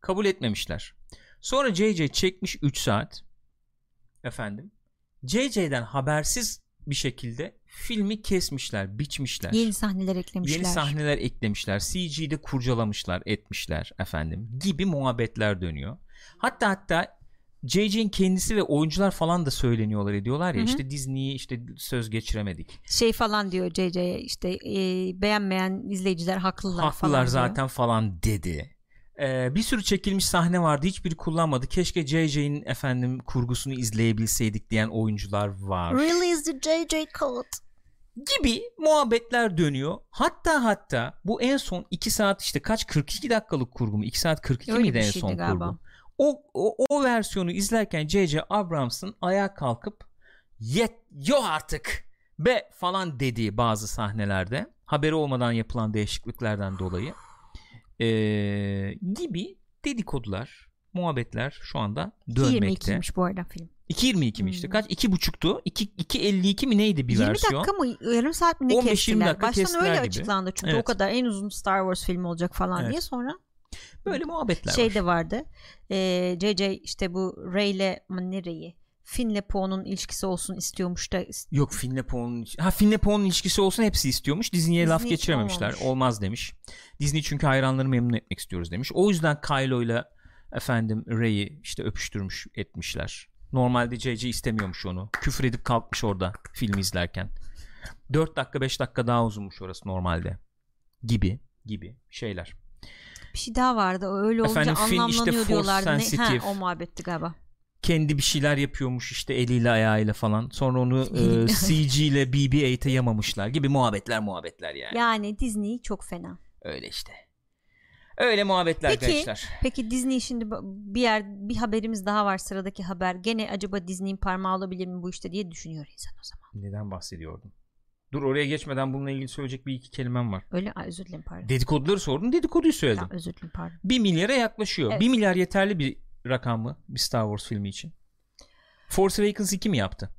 S1: Kabul etmemişler. Sonra JJ çekmiş 3 saat. Efendim. JJ'den habersiz bir şekilde filmi kesmişler, biçmişler.
S2: Yeni sahneler eklemişler.
S1: Yeni sahneler eklemişler. CG'de kurcalamışlar, etmişler efendim gibi muhabbetler dönüyor. Hatta hatta JJ'in kendisi ve oyuncular falan da söyleniyorlar ediyorlar ya
S2: Hı hı.
S1: işte Disney'i işte söz geçiremedik.
S2: Şey falan diyor J.J. işte e, beğenmeyen izleyiciler haklılar, falan.
S1: Haklılar
S2: diyor.
S1: zaten falan dedi. Ee, bir sürü çekilmiş sahne vardı hiçbiri kullanmadı. Keşke JJ'in efendim kurgusunu izleyebilseydik diyen oyuncular var.
S2: Release the J.J. code.
S1: gibi muhabbetler dönüyor. Hatta hatta bu en son 2 saat işte kaç 42 dakikalık kurgu mu? 2 saat 42
S2: Öyle
S1: miydi
S2: bir
S1: en
S2: şeydi
S1: son
S2: galiba.
S1: kurgu? O, o, o versiyonu izlerken J.J. Abrams'ın ayağa kalkıp yet yok artık be falan dediği bazı sahnelerde haberi olmadan yapılan değişikliklerden dolayı ee, gibi dedikodular muhabbetler şu anda dönmekte.
S2: 22'ymiş bu arada film.
S1: 2.22 mi işte
S2: Hmm.
S1: kaç? 2.5'tu. 2 2.52 mi neydi bir
S2: 20
S1: versiyon?
S2: dakika mı yarım saat mi ne
S1: 15-20
S2: kestiler?
S1: dakika
S2: Baştan
S1: kestiler
S2: öyle
S1: gibi.
S2: açıklandı çünkü o
S1: Evet.
S2: kadar en uzun Star Wars filmi olacak falan
S1: Evet.
S2: diye sonra
S1: Böyle muhabbetler
S2: şey
S1: var.
S2: de vardı. Ee, JJ işte bu Rey'le aman ne Rey'i Finn'le Poe'nun ilişkisi olsun istiyormuş da
S1: Yok Finle Poe'nun ha Finle Poe'nun ilişkisi olsun hepsi istiyormuş. Disney'e
S2: Disney
S1: laf
S2: için
S1: geçirememişler.
S2: olmamış.
S1: Olmaz demiş. Disney çünkü hayranları memnun etmek istiyoruz demiş. O yüzden Kylo'yla efendim Rey'i işte öpüştürmüş etmişler. Normalde JJ istemiyormuş onu. Küfür edip kalkmış orada filmi izlerken. 4 dakika 5 dakika daha uzunmuş orası normalde. Gibi gibi şeyler.
S2: bir şey daha vardı. O öyle olunca
S1: Efendim, Finn işte
S2: anlamlanıyor
S1: force
S2: diyorlardı. Ne?
S1: sensitive.
S2: Ha, o muhabbetti galiba.
S1: Kendi bir şeyler yapıyormuş işte eliyle ayağıyla falan. Sonra onu e, CG ile BB-8'e e yamamışlar gibi muhabbetler muhabbetler yani.
S2: Yani Disney çok fena.
S1: Öyle işte. Öyle muhabbetler
S2: Peki.
S1: gençler.
S2: Peki Disney şimdi bu- bir yer bir haberimiz daha var sıradaki haber. Gene acaba Disney'in parmağı olabilir mi bu işte diye düşünüyor insan o zaman.
S1: Neden bahsediyordum? Dur oraya geçmeden bununla ilgili söyleyecek bir iki kelimem var.
S2: Öyle Aa, özür dilerim pardon.
S1: Dedikoduları sordun dedikoduyu söyledim.
S2: Tamam, özür dilerim pardon.
S1: 1 milyara yaklaşıyor.
S2: Evet.
S1: 1 milyar yeterli bir rakam mı bir Star Wars filmi için? Force Awakens 2 mi yaptı?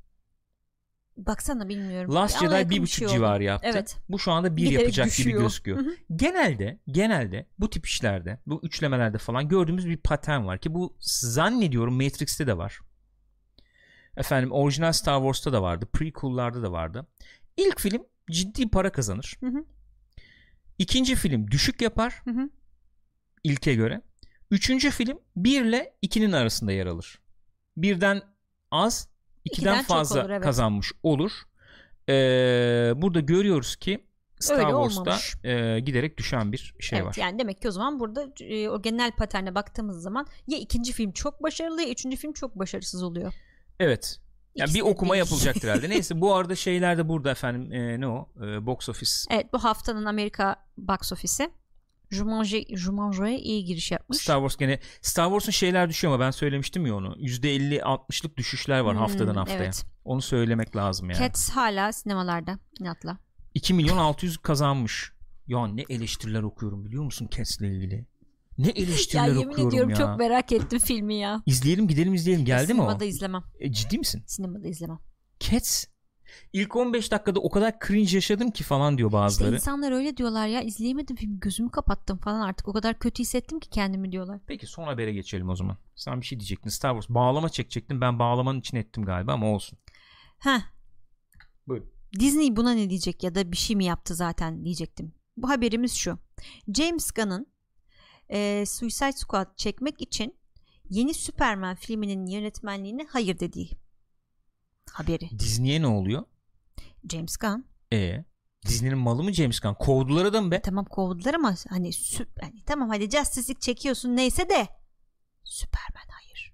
S2: Baksana bilmiyorum.
S1: Last
S2: Ama
S1: Jedi
S2: yakın bir
S1: 1.5
S2: şey oldu.
S1: civarı yaptı.
S2: Evet.
S1: Bu şu anda 1
S2: Giderek
S1: yapacak
S2: düşüyor.
S1: gibi gözüküyor.
S2: Hı hı.
S1: genelde genelde bu tip işlerde bu üçlemelerde falan gördüğümüz bir patern var ki bu zannediyorum Matrix'te de var. Efendim orijinal Star Wars'ta da vardı. Prequel'larda da vardı. İlk film ciddi para kazanır.
S2: Hı hı.
S1: İkinci film düşük yapar
S2: Hı hı.
S1: ilke göre. Üçüncü film 1 ile 2'nin arasında yer alır. Birden az, 2'den
S2: İkiden çok
S1: fazla
S2: olur, evet.
S1: kazanmış olur. Ee, burada görüyoruz ki Star
S2: Öyle
S1: Wars'ta
S2: olmamış.
S1: e, giderek düşen bir şey
S2: evet
S1: var.
S2: yani demek ki o zaman burada e, o genel paterne baktığımız zaman ya ikinci film çok başarılı ya üçüncü film çok başarısız oluyor.
S1: Evet. Yani
S2: İkisi
S1: bir
S2: de
S1: okuma
S2: değil.
S1: yapılacaktır herhalde. Neyse bu arada şeyler de burada efendim. e, ne o? E, box office
S2: Evet bu haftanın Amerika box ofisi Jumanji, Jumanji'ye iyi giriş yapmış.
S1: Star Wars gene Star Wars'un şeyler düşüyor ama ben söylemiştim ya onu. %50-60'lık düşüşler var
S2: Hmm,
S1: haftadan haftaya.
S2: evet.
S1: Onu söylemek lazım yani.
S2: Cats hala sinemalarda inatla.
S1: 2 milyon 600 kazanmış. Ya ne eleştiriler okuyorum biliyor musun Cats'le ilgili? Ne eleştiriler okuyorum ya.
S2: merak ettim filmi ya.
S1: İzleyelim gidelim izleyelim. Geldi mi o?
S2: Sinemada izlemem.
S1: E, ciddi misin?
S2: Sinemada izlemem.
S1: Cats ilk 15 dakikada o kadar cringe yaşadım ki falan diyor
S2: İşte
S1: bazıları.
S2: insanlar öyle diyorlar ya izleyemedim filmi gözümü kapattım falan artık o kadar kötü hissettim ki kendimi diyorlar.
S1: Peki son habere geçelim o zaman. Sen bir şey diyecektin. Star Wars bağlama çekecektin. Ben bağlamanın için ettim galiba ama olsun.
S2: Heh.
S1: Buyurun.
S2: Disney buna ne diyecek ya da bir şey mi yaptı zaten diyecektim. Bu haberimiz şu. James Gunn'ın e, Suicide Squad çekmek için yeni Superman filminin yönetmenliğine hayır dediği haberi.
S1: Disney'e ne oluyor?
S2: James Gunn "E,
S1: E Disney'nin malı mı James Gunn? Kovdular adam be.
S2: tamam kovdular ama hani, sü- hani tamam hadi Justice League çekiyorsun neyse de Superman hayır.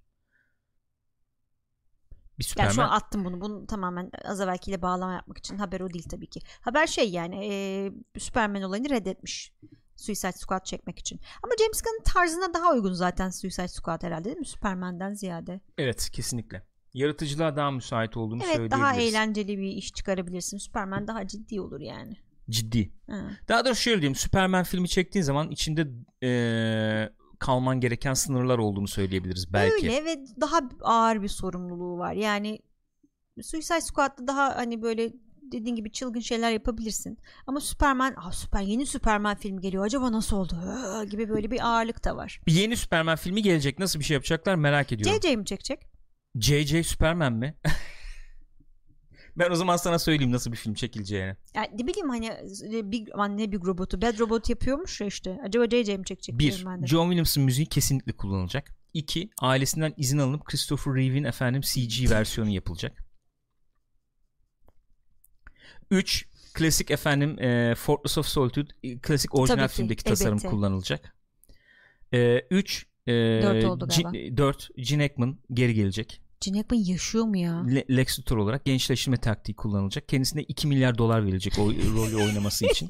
S1: Bir
S2: Yani şu
S1: Superman.
S2: an attım bunu. Bunu tamamen az evvelkiyle bağlama yapmak için. Haber o değil tabii ki. Haber şey yani e, Superman olayını reddetmiş. Suicide Squad çekmek için. Ama James Gunn'ın tarzına daha uygun zaten Suicide Squad herhalde değil mi? Superman'den ziyade.
S1: Evet kesinlikle. Yaratıcılığa daha müsait olduğunu
S2: Evet
S1: söyleyebiliriz.
S2: daha eğlenceli bir iş çıkarabilirsin. Superman daha ciddi olur yani.
S1: Ciddi.
S2: Ha.
S1: Daha doğrusu şöyle diyeyim. Superman filmi çektiğin zaman içinde eee, kalman gereken sınırlar olduğunu söyleyebiliriz belki.
S2: Öyle ve daha ağır bir sorumluluğu var. Yani Suicide Squad'da daha hani böyle dediğin gibi çılgın şeyler yapabilirsin. Ama Superman, ah süper yeni Superman film geliyor. Acaba nasıl oldu? Aa, gibi böyle bir ağırlık da var.
S1: Bir yeni Superman filmi gelecek. Nasıl bir şey yapacaklar merak ediyorum.
S2: JJ mi çekecek?
S1: JJ Superman mi? ben o zaman sana söyleyeyim nasıl bir film çekileceğini.
S2: Yani ne bileyim hani e, Big, aman ne Big Robot'u Bad Robot yapıyormuş ya işte. Acaba JJ mi çekecek?
S1: Bir,
S2: diyorum ben de.
S1: John Williams'ın müziği kesinlikle kullanılacak. İki, ailesinden izin alınıp Christopher Reeve'in efendim CG versiyonu yapılacak. Üç, klasik efendim e, Fortress of Solitude, e, klasik orijinal
S2: Tabii ki,
S1: filmdeki tasarım
S2: elbette.
S1: kullanılacak. E, üç, e,
S2: Dört oldu
S1: Ci-
S2: galiba.
S1: e, dört, Gene Hackman geri gelecek.
S2: Gene Hackman yaşıyor mu ya?
S1: Le- Lex Luthor olarak gençleştirme taktiği kullanılacak. Kendisine 2 milyar dolar verilecek o rolü oynaması için.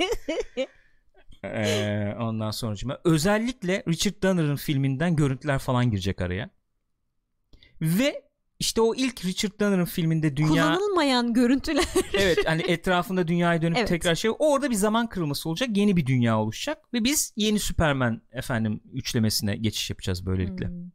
S1: Ee, ondan sonra özellikle Richard Donner'ın filminden görüntüler falan girecek araya. Ve işte o ilk Richard Donner'ın filminde dünya
S2: Kullanılmayan görüntüler.
S1: evet hani etrafında dünyaya dönüp
S2: Evet.
S1: tekrar şey orada bir zaman kırılması olacak. Yeni bir dünya oluşacak ve biz yeni Superman efendim üçlemesine geçiş yapacağız böylelikle.
S2: Hmm.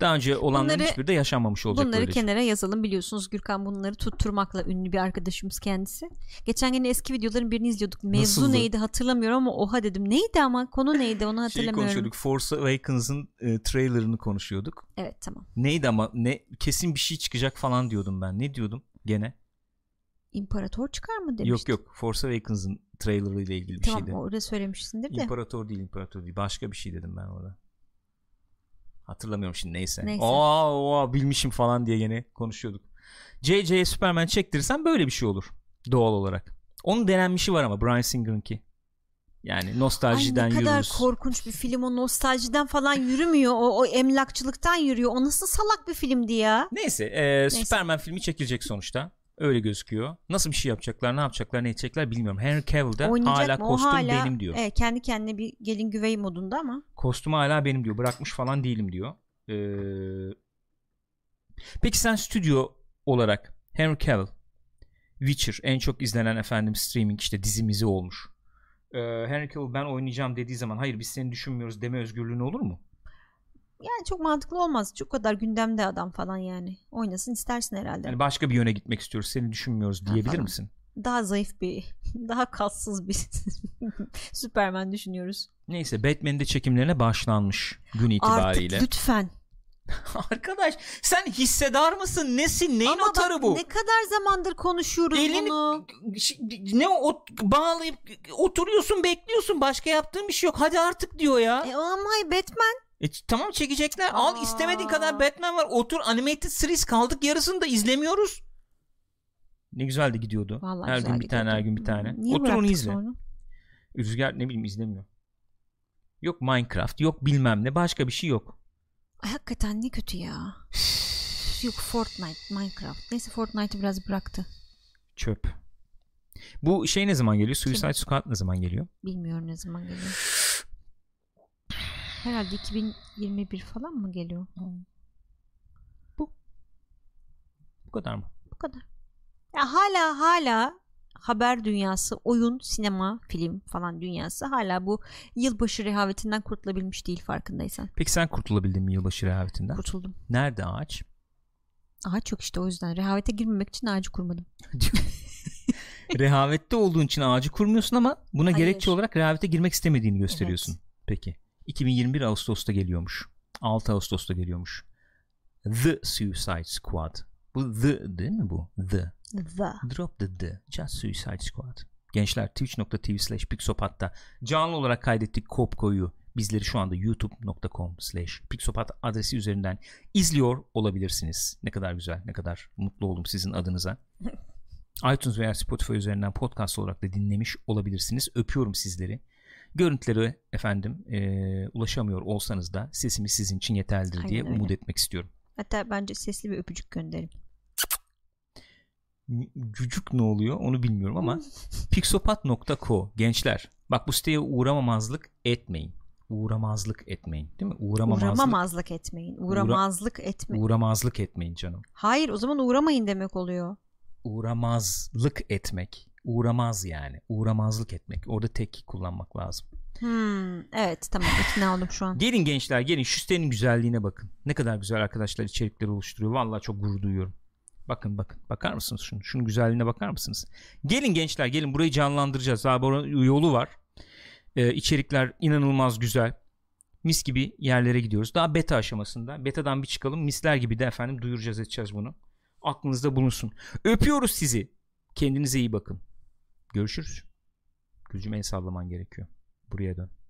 S1: Daha önce olanların
S2: Bunları-
S1: hiçbiri de yaşanmamış olacak
S2: Bunları
S1: böylece.
S2: kenara yazalım biliyorsunuz Gürkan bunları tutturmakla ünlü bir arkadaşımız kendisi. Geçen gün eski videoların birini izliyorduk. Mevzu
S1: Nasıldı?
S2: neydi hatırlamıyorum ama oha dedim. Neydi ama konu neydi onu
S1: Şeyi
S2: hatırlamıyorum.
S1: konuşuyorduk. Force Awakens'ın e, trailerını konuşuyorduk.
S2: evet tamam.
S1: Neydi ama ne kesin bir şey çıkacak falan diyordum ben. Ne diyordum gene?
S2: İmparator çıkar mı demiştin?
S1: Yok yok Force Awakens'ın trailerı ile ilgili bir
S2: Tamam
S1: şeydi.
S2: orada söylemişsindir de.
S1: İmparator değil imparator değil başka bir şey dedim ben orada. Hatırlamıyorum şimdi neyse.
S2: Neyse.
S1: Aa, aa, bilmişim falan diye gene konuşuyorduk. JJ'ye Superman çektirirsen böyle bir şey olur doğal olarak. Onun denenmişi var ama Bryan Singer'ınki. Yani
S2: Ay
S1: nostaljiden
S2: ne kadar
S1: yürürüz.
S2: korkunç bir film o nostaljiden falan yürümüyor o, o emlakçılıktan yürüyor o nasıl salak bir filmdi ya
S1: Neyse, e, Superman filmi çekilecek sonuçta. Öyle gözüküyor. Nasıl bir şey yapacaklar, ne yapacaklar, ne edecekler bilmiyorum. Henry Cavill de
S2: oynayacak
S1: hala
S2: mı o
S1: kostüm
S2: hala
S1: benim diyor.
S2: evet, kendi kendine bir gelin güvey modunda ama
S1: Kostüm hala benim diyor. Bırakmış falan değilim diyor. Ee, peki sen stüdyo olarak Henry Cavill, Witcher en çok izlenen efendim streaming işte dizimizi olmuş. Ee, Henry Cavill ben oynayacağım dediği zaman hayır biz seni düşünmüyoruz deme özgürlüğün olur mu?
S2: yani çok mantıklı olmaz çok kadar gündemde adam falan yani oynasın istersin herhalde
S1: Yani başka bir yöne gitmek istiyoruz seni düşünmüyoruz diyebilir
S2: falan.
S1: misin?
S2: daha zayıf bir, daha kassız bir Superman düşünüyoruz.
S1: Neyse Batman'in de çekimlerine başlanmış gün itibariyle.
S2: Artık lütfen
S1: Arkadaş sen hissedar mısın? Nesin? Neyin
S2: Ama
S1: atarı
S2: bak,
S1: bu?
S2: ne kadar zamandır konuşuyoruz
S1: Elini
S2: bunu.
S1: ne o ot- bağlayıp oturuyorsun bekliyorsun başka yaptığın bir şey yok hadi artık diyor ya.
S2: E, ama ay Batman.
S1: E, ç- tamam çekecekler
S2: Aa.
S1: al istemediğin kadar Batman var otur animated series kaldık yarısını da izlemiyoruz. Ne güzel de gidiyordu.
S2: Vallahi
S1: her
S2: güzel
S1: gün bir tane
S2: gidiyordu.
S1: her gün bir tane.
S2: Niye
S1: otur onu
S2: bıraktık
S1: izle.
S2: sonra?
S1: Rüzgar ne bileyim izlemiyor. Yok Minecraft yok bilmem ne başka bir şey yok.
S2: Ay hakikaten ne kötü ya. Üf, Yok Fortnite, Minecraft. Neyse Fortnite'ı biraz bıraktı.
S1: Çöp. Bu şey ne zaman geliyor? Suicide Squad ne zaman geliyor?
S2: Bilmiyorum ne zaman geliyor. Herhalde 2021 falan mı geliyor?
S1: Bu kadar mı?
S2: Bu kadar. Ya hala hala haber dünyası, oyun, sinema, film falan dünyası hala bu yılbaşı rehavetinden kurtulabilmiş değil farkındaysan.
S1: Peki sen kurtulabildin mi yılbaşı rehavetinden?
S2: Kurtuldum.
S1: Nerede ağaç?
S2: Ağaç yok işte o yüzden. Rehavete girmemek için ağacı kurmadım.
S1: Rehavette olduğun için ağacı kurmuyorsun ama buna
S2: Hayır.
S1: gerekçe olarak rehavete girmek istemediğini gösteriyorsun. Peki. 2021 Ağustos'ta geliyormuş. 6 Ağustos'ta geliyormuş. The Suicide Squad. Bu the değil mi bu? The.
S2: The.
S1: Drop the the. Just Suicide Squad. Gençler twitch.tv slash pixopat'ta canlı olarak kaydettik Kopko'yu. Bizleri şu anda youtube.com slash pixopat adresi üzerinden izliyor olabilirsiniz. Ne kadar güzel, ne kadar mutlu oldum sizin adınıza. iTunes veya Spotify üzerinden podcast olarak da dinlemiş olabilirsiniz. Öpüyorum sizleri. Görüntüleri efendim eee, ulaşamıyor olsanız da sesimiz sizin için yeterlidir diye
S2: Aynen öyle.
S1: umut etmek istiyorum.
S2: Hatta bence sesli bir öpücük gönderin.
S1: cücük ne oluyor onu bilmiyorum ama pixopat.co gençler bak bu siteye uğramamazlık etmeyin. Uğramazlık etmeyin değil mi? Uğramamazlık,
S2: Uğramamazlık etmeyin. Uğramazlık etmeyin.
S1: uğramazlık etmeyin canım.
S2: Hayır o zaman uğramayın demek oluyor.
S1: Uğramazlık etmek. Uğramaz yani. Uğramazlık etmek. Orada tek kullanmak lazım.
S2: Hmm, evet tamam ikna oldum şu an.
S1: Gelin gençler gelin şu sitenin güzelliğine bakın. Ne kadar güzel arkadaşlar içerikleri oluşturuyor. Vallahi çok gurur duyuyorum. Bakın bakın bakar mısınız şunu? Şunun güzelliğine bakar mısınız? Gelin gençler gelin burayı canlandıracağız. Daha bunun yolu var. Ee, içerikler inanılmaz güzel. Mis gibi yerlere gidiyoruz. Daha beta aşamasında. Betadan bir çıkalım. Misler gibi de efendim duyuracağız edeceğiz bunu. Aklınızda bulunsun. Öpüyoruz sizi. Kendinize iyi bakın. Görüşürüz. Gülcüm el sallaman gerekiyor. Buraya dön.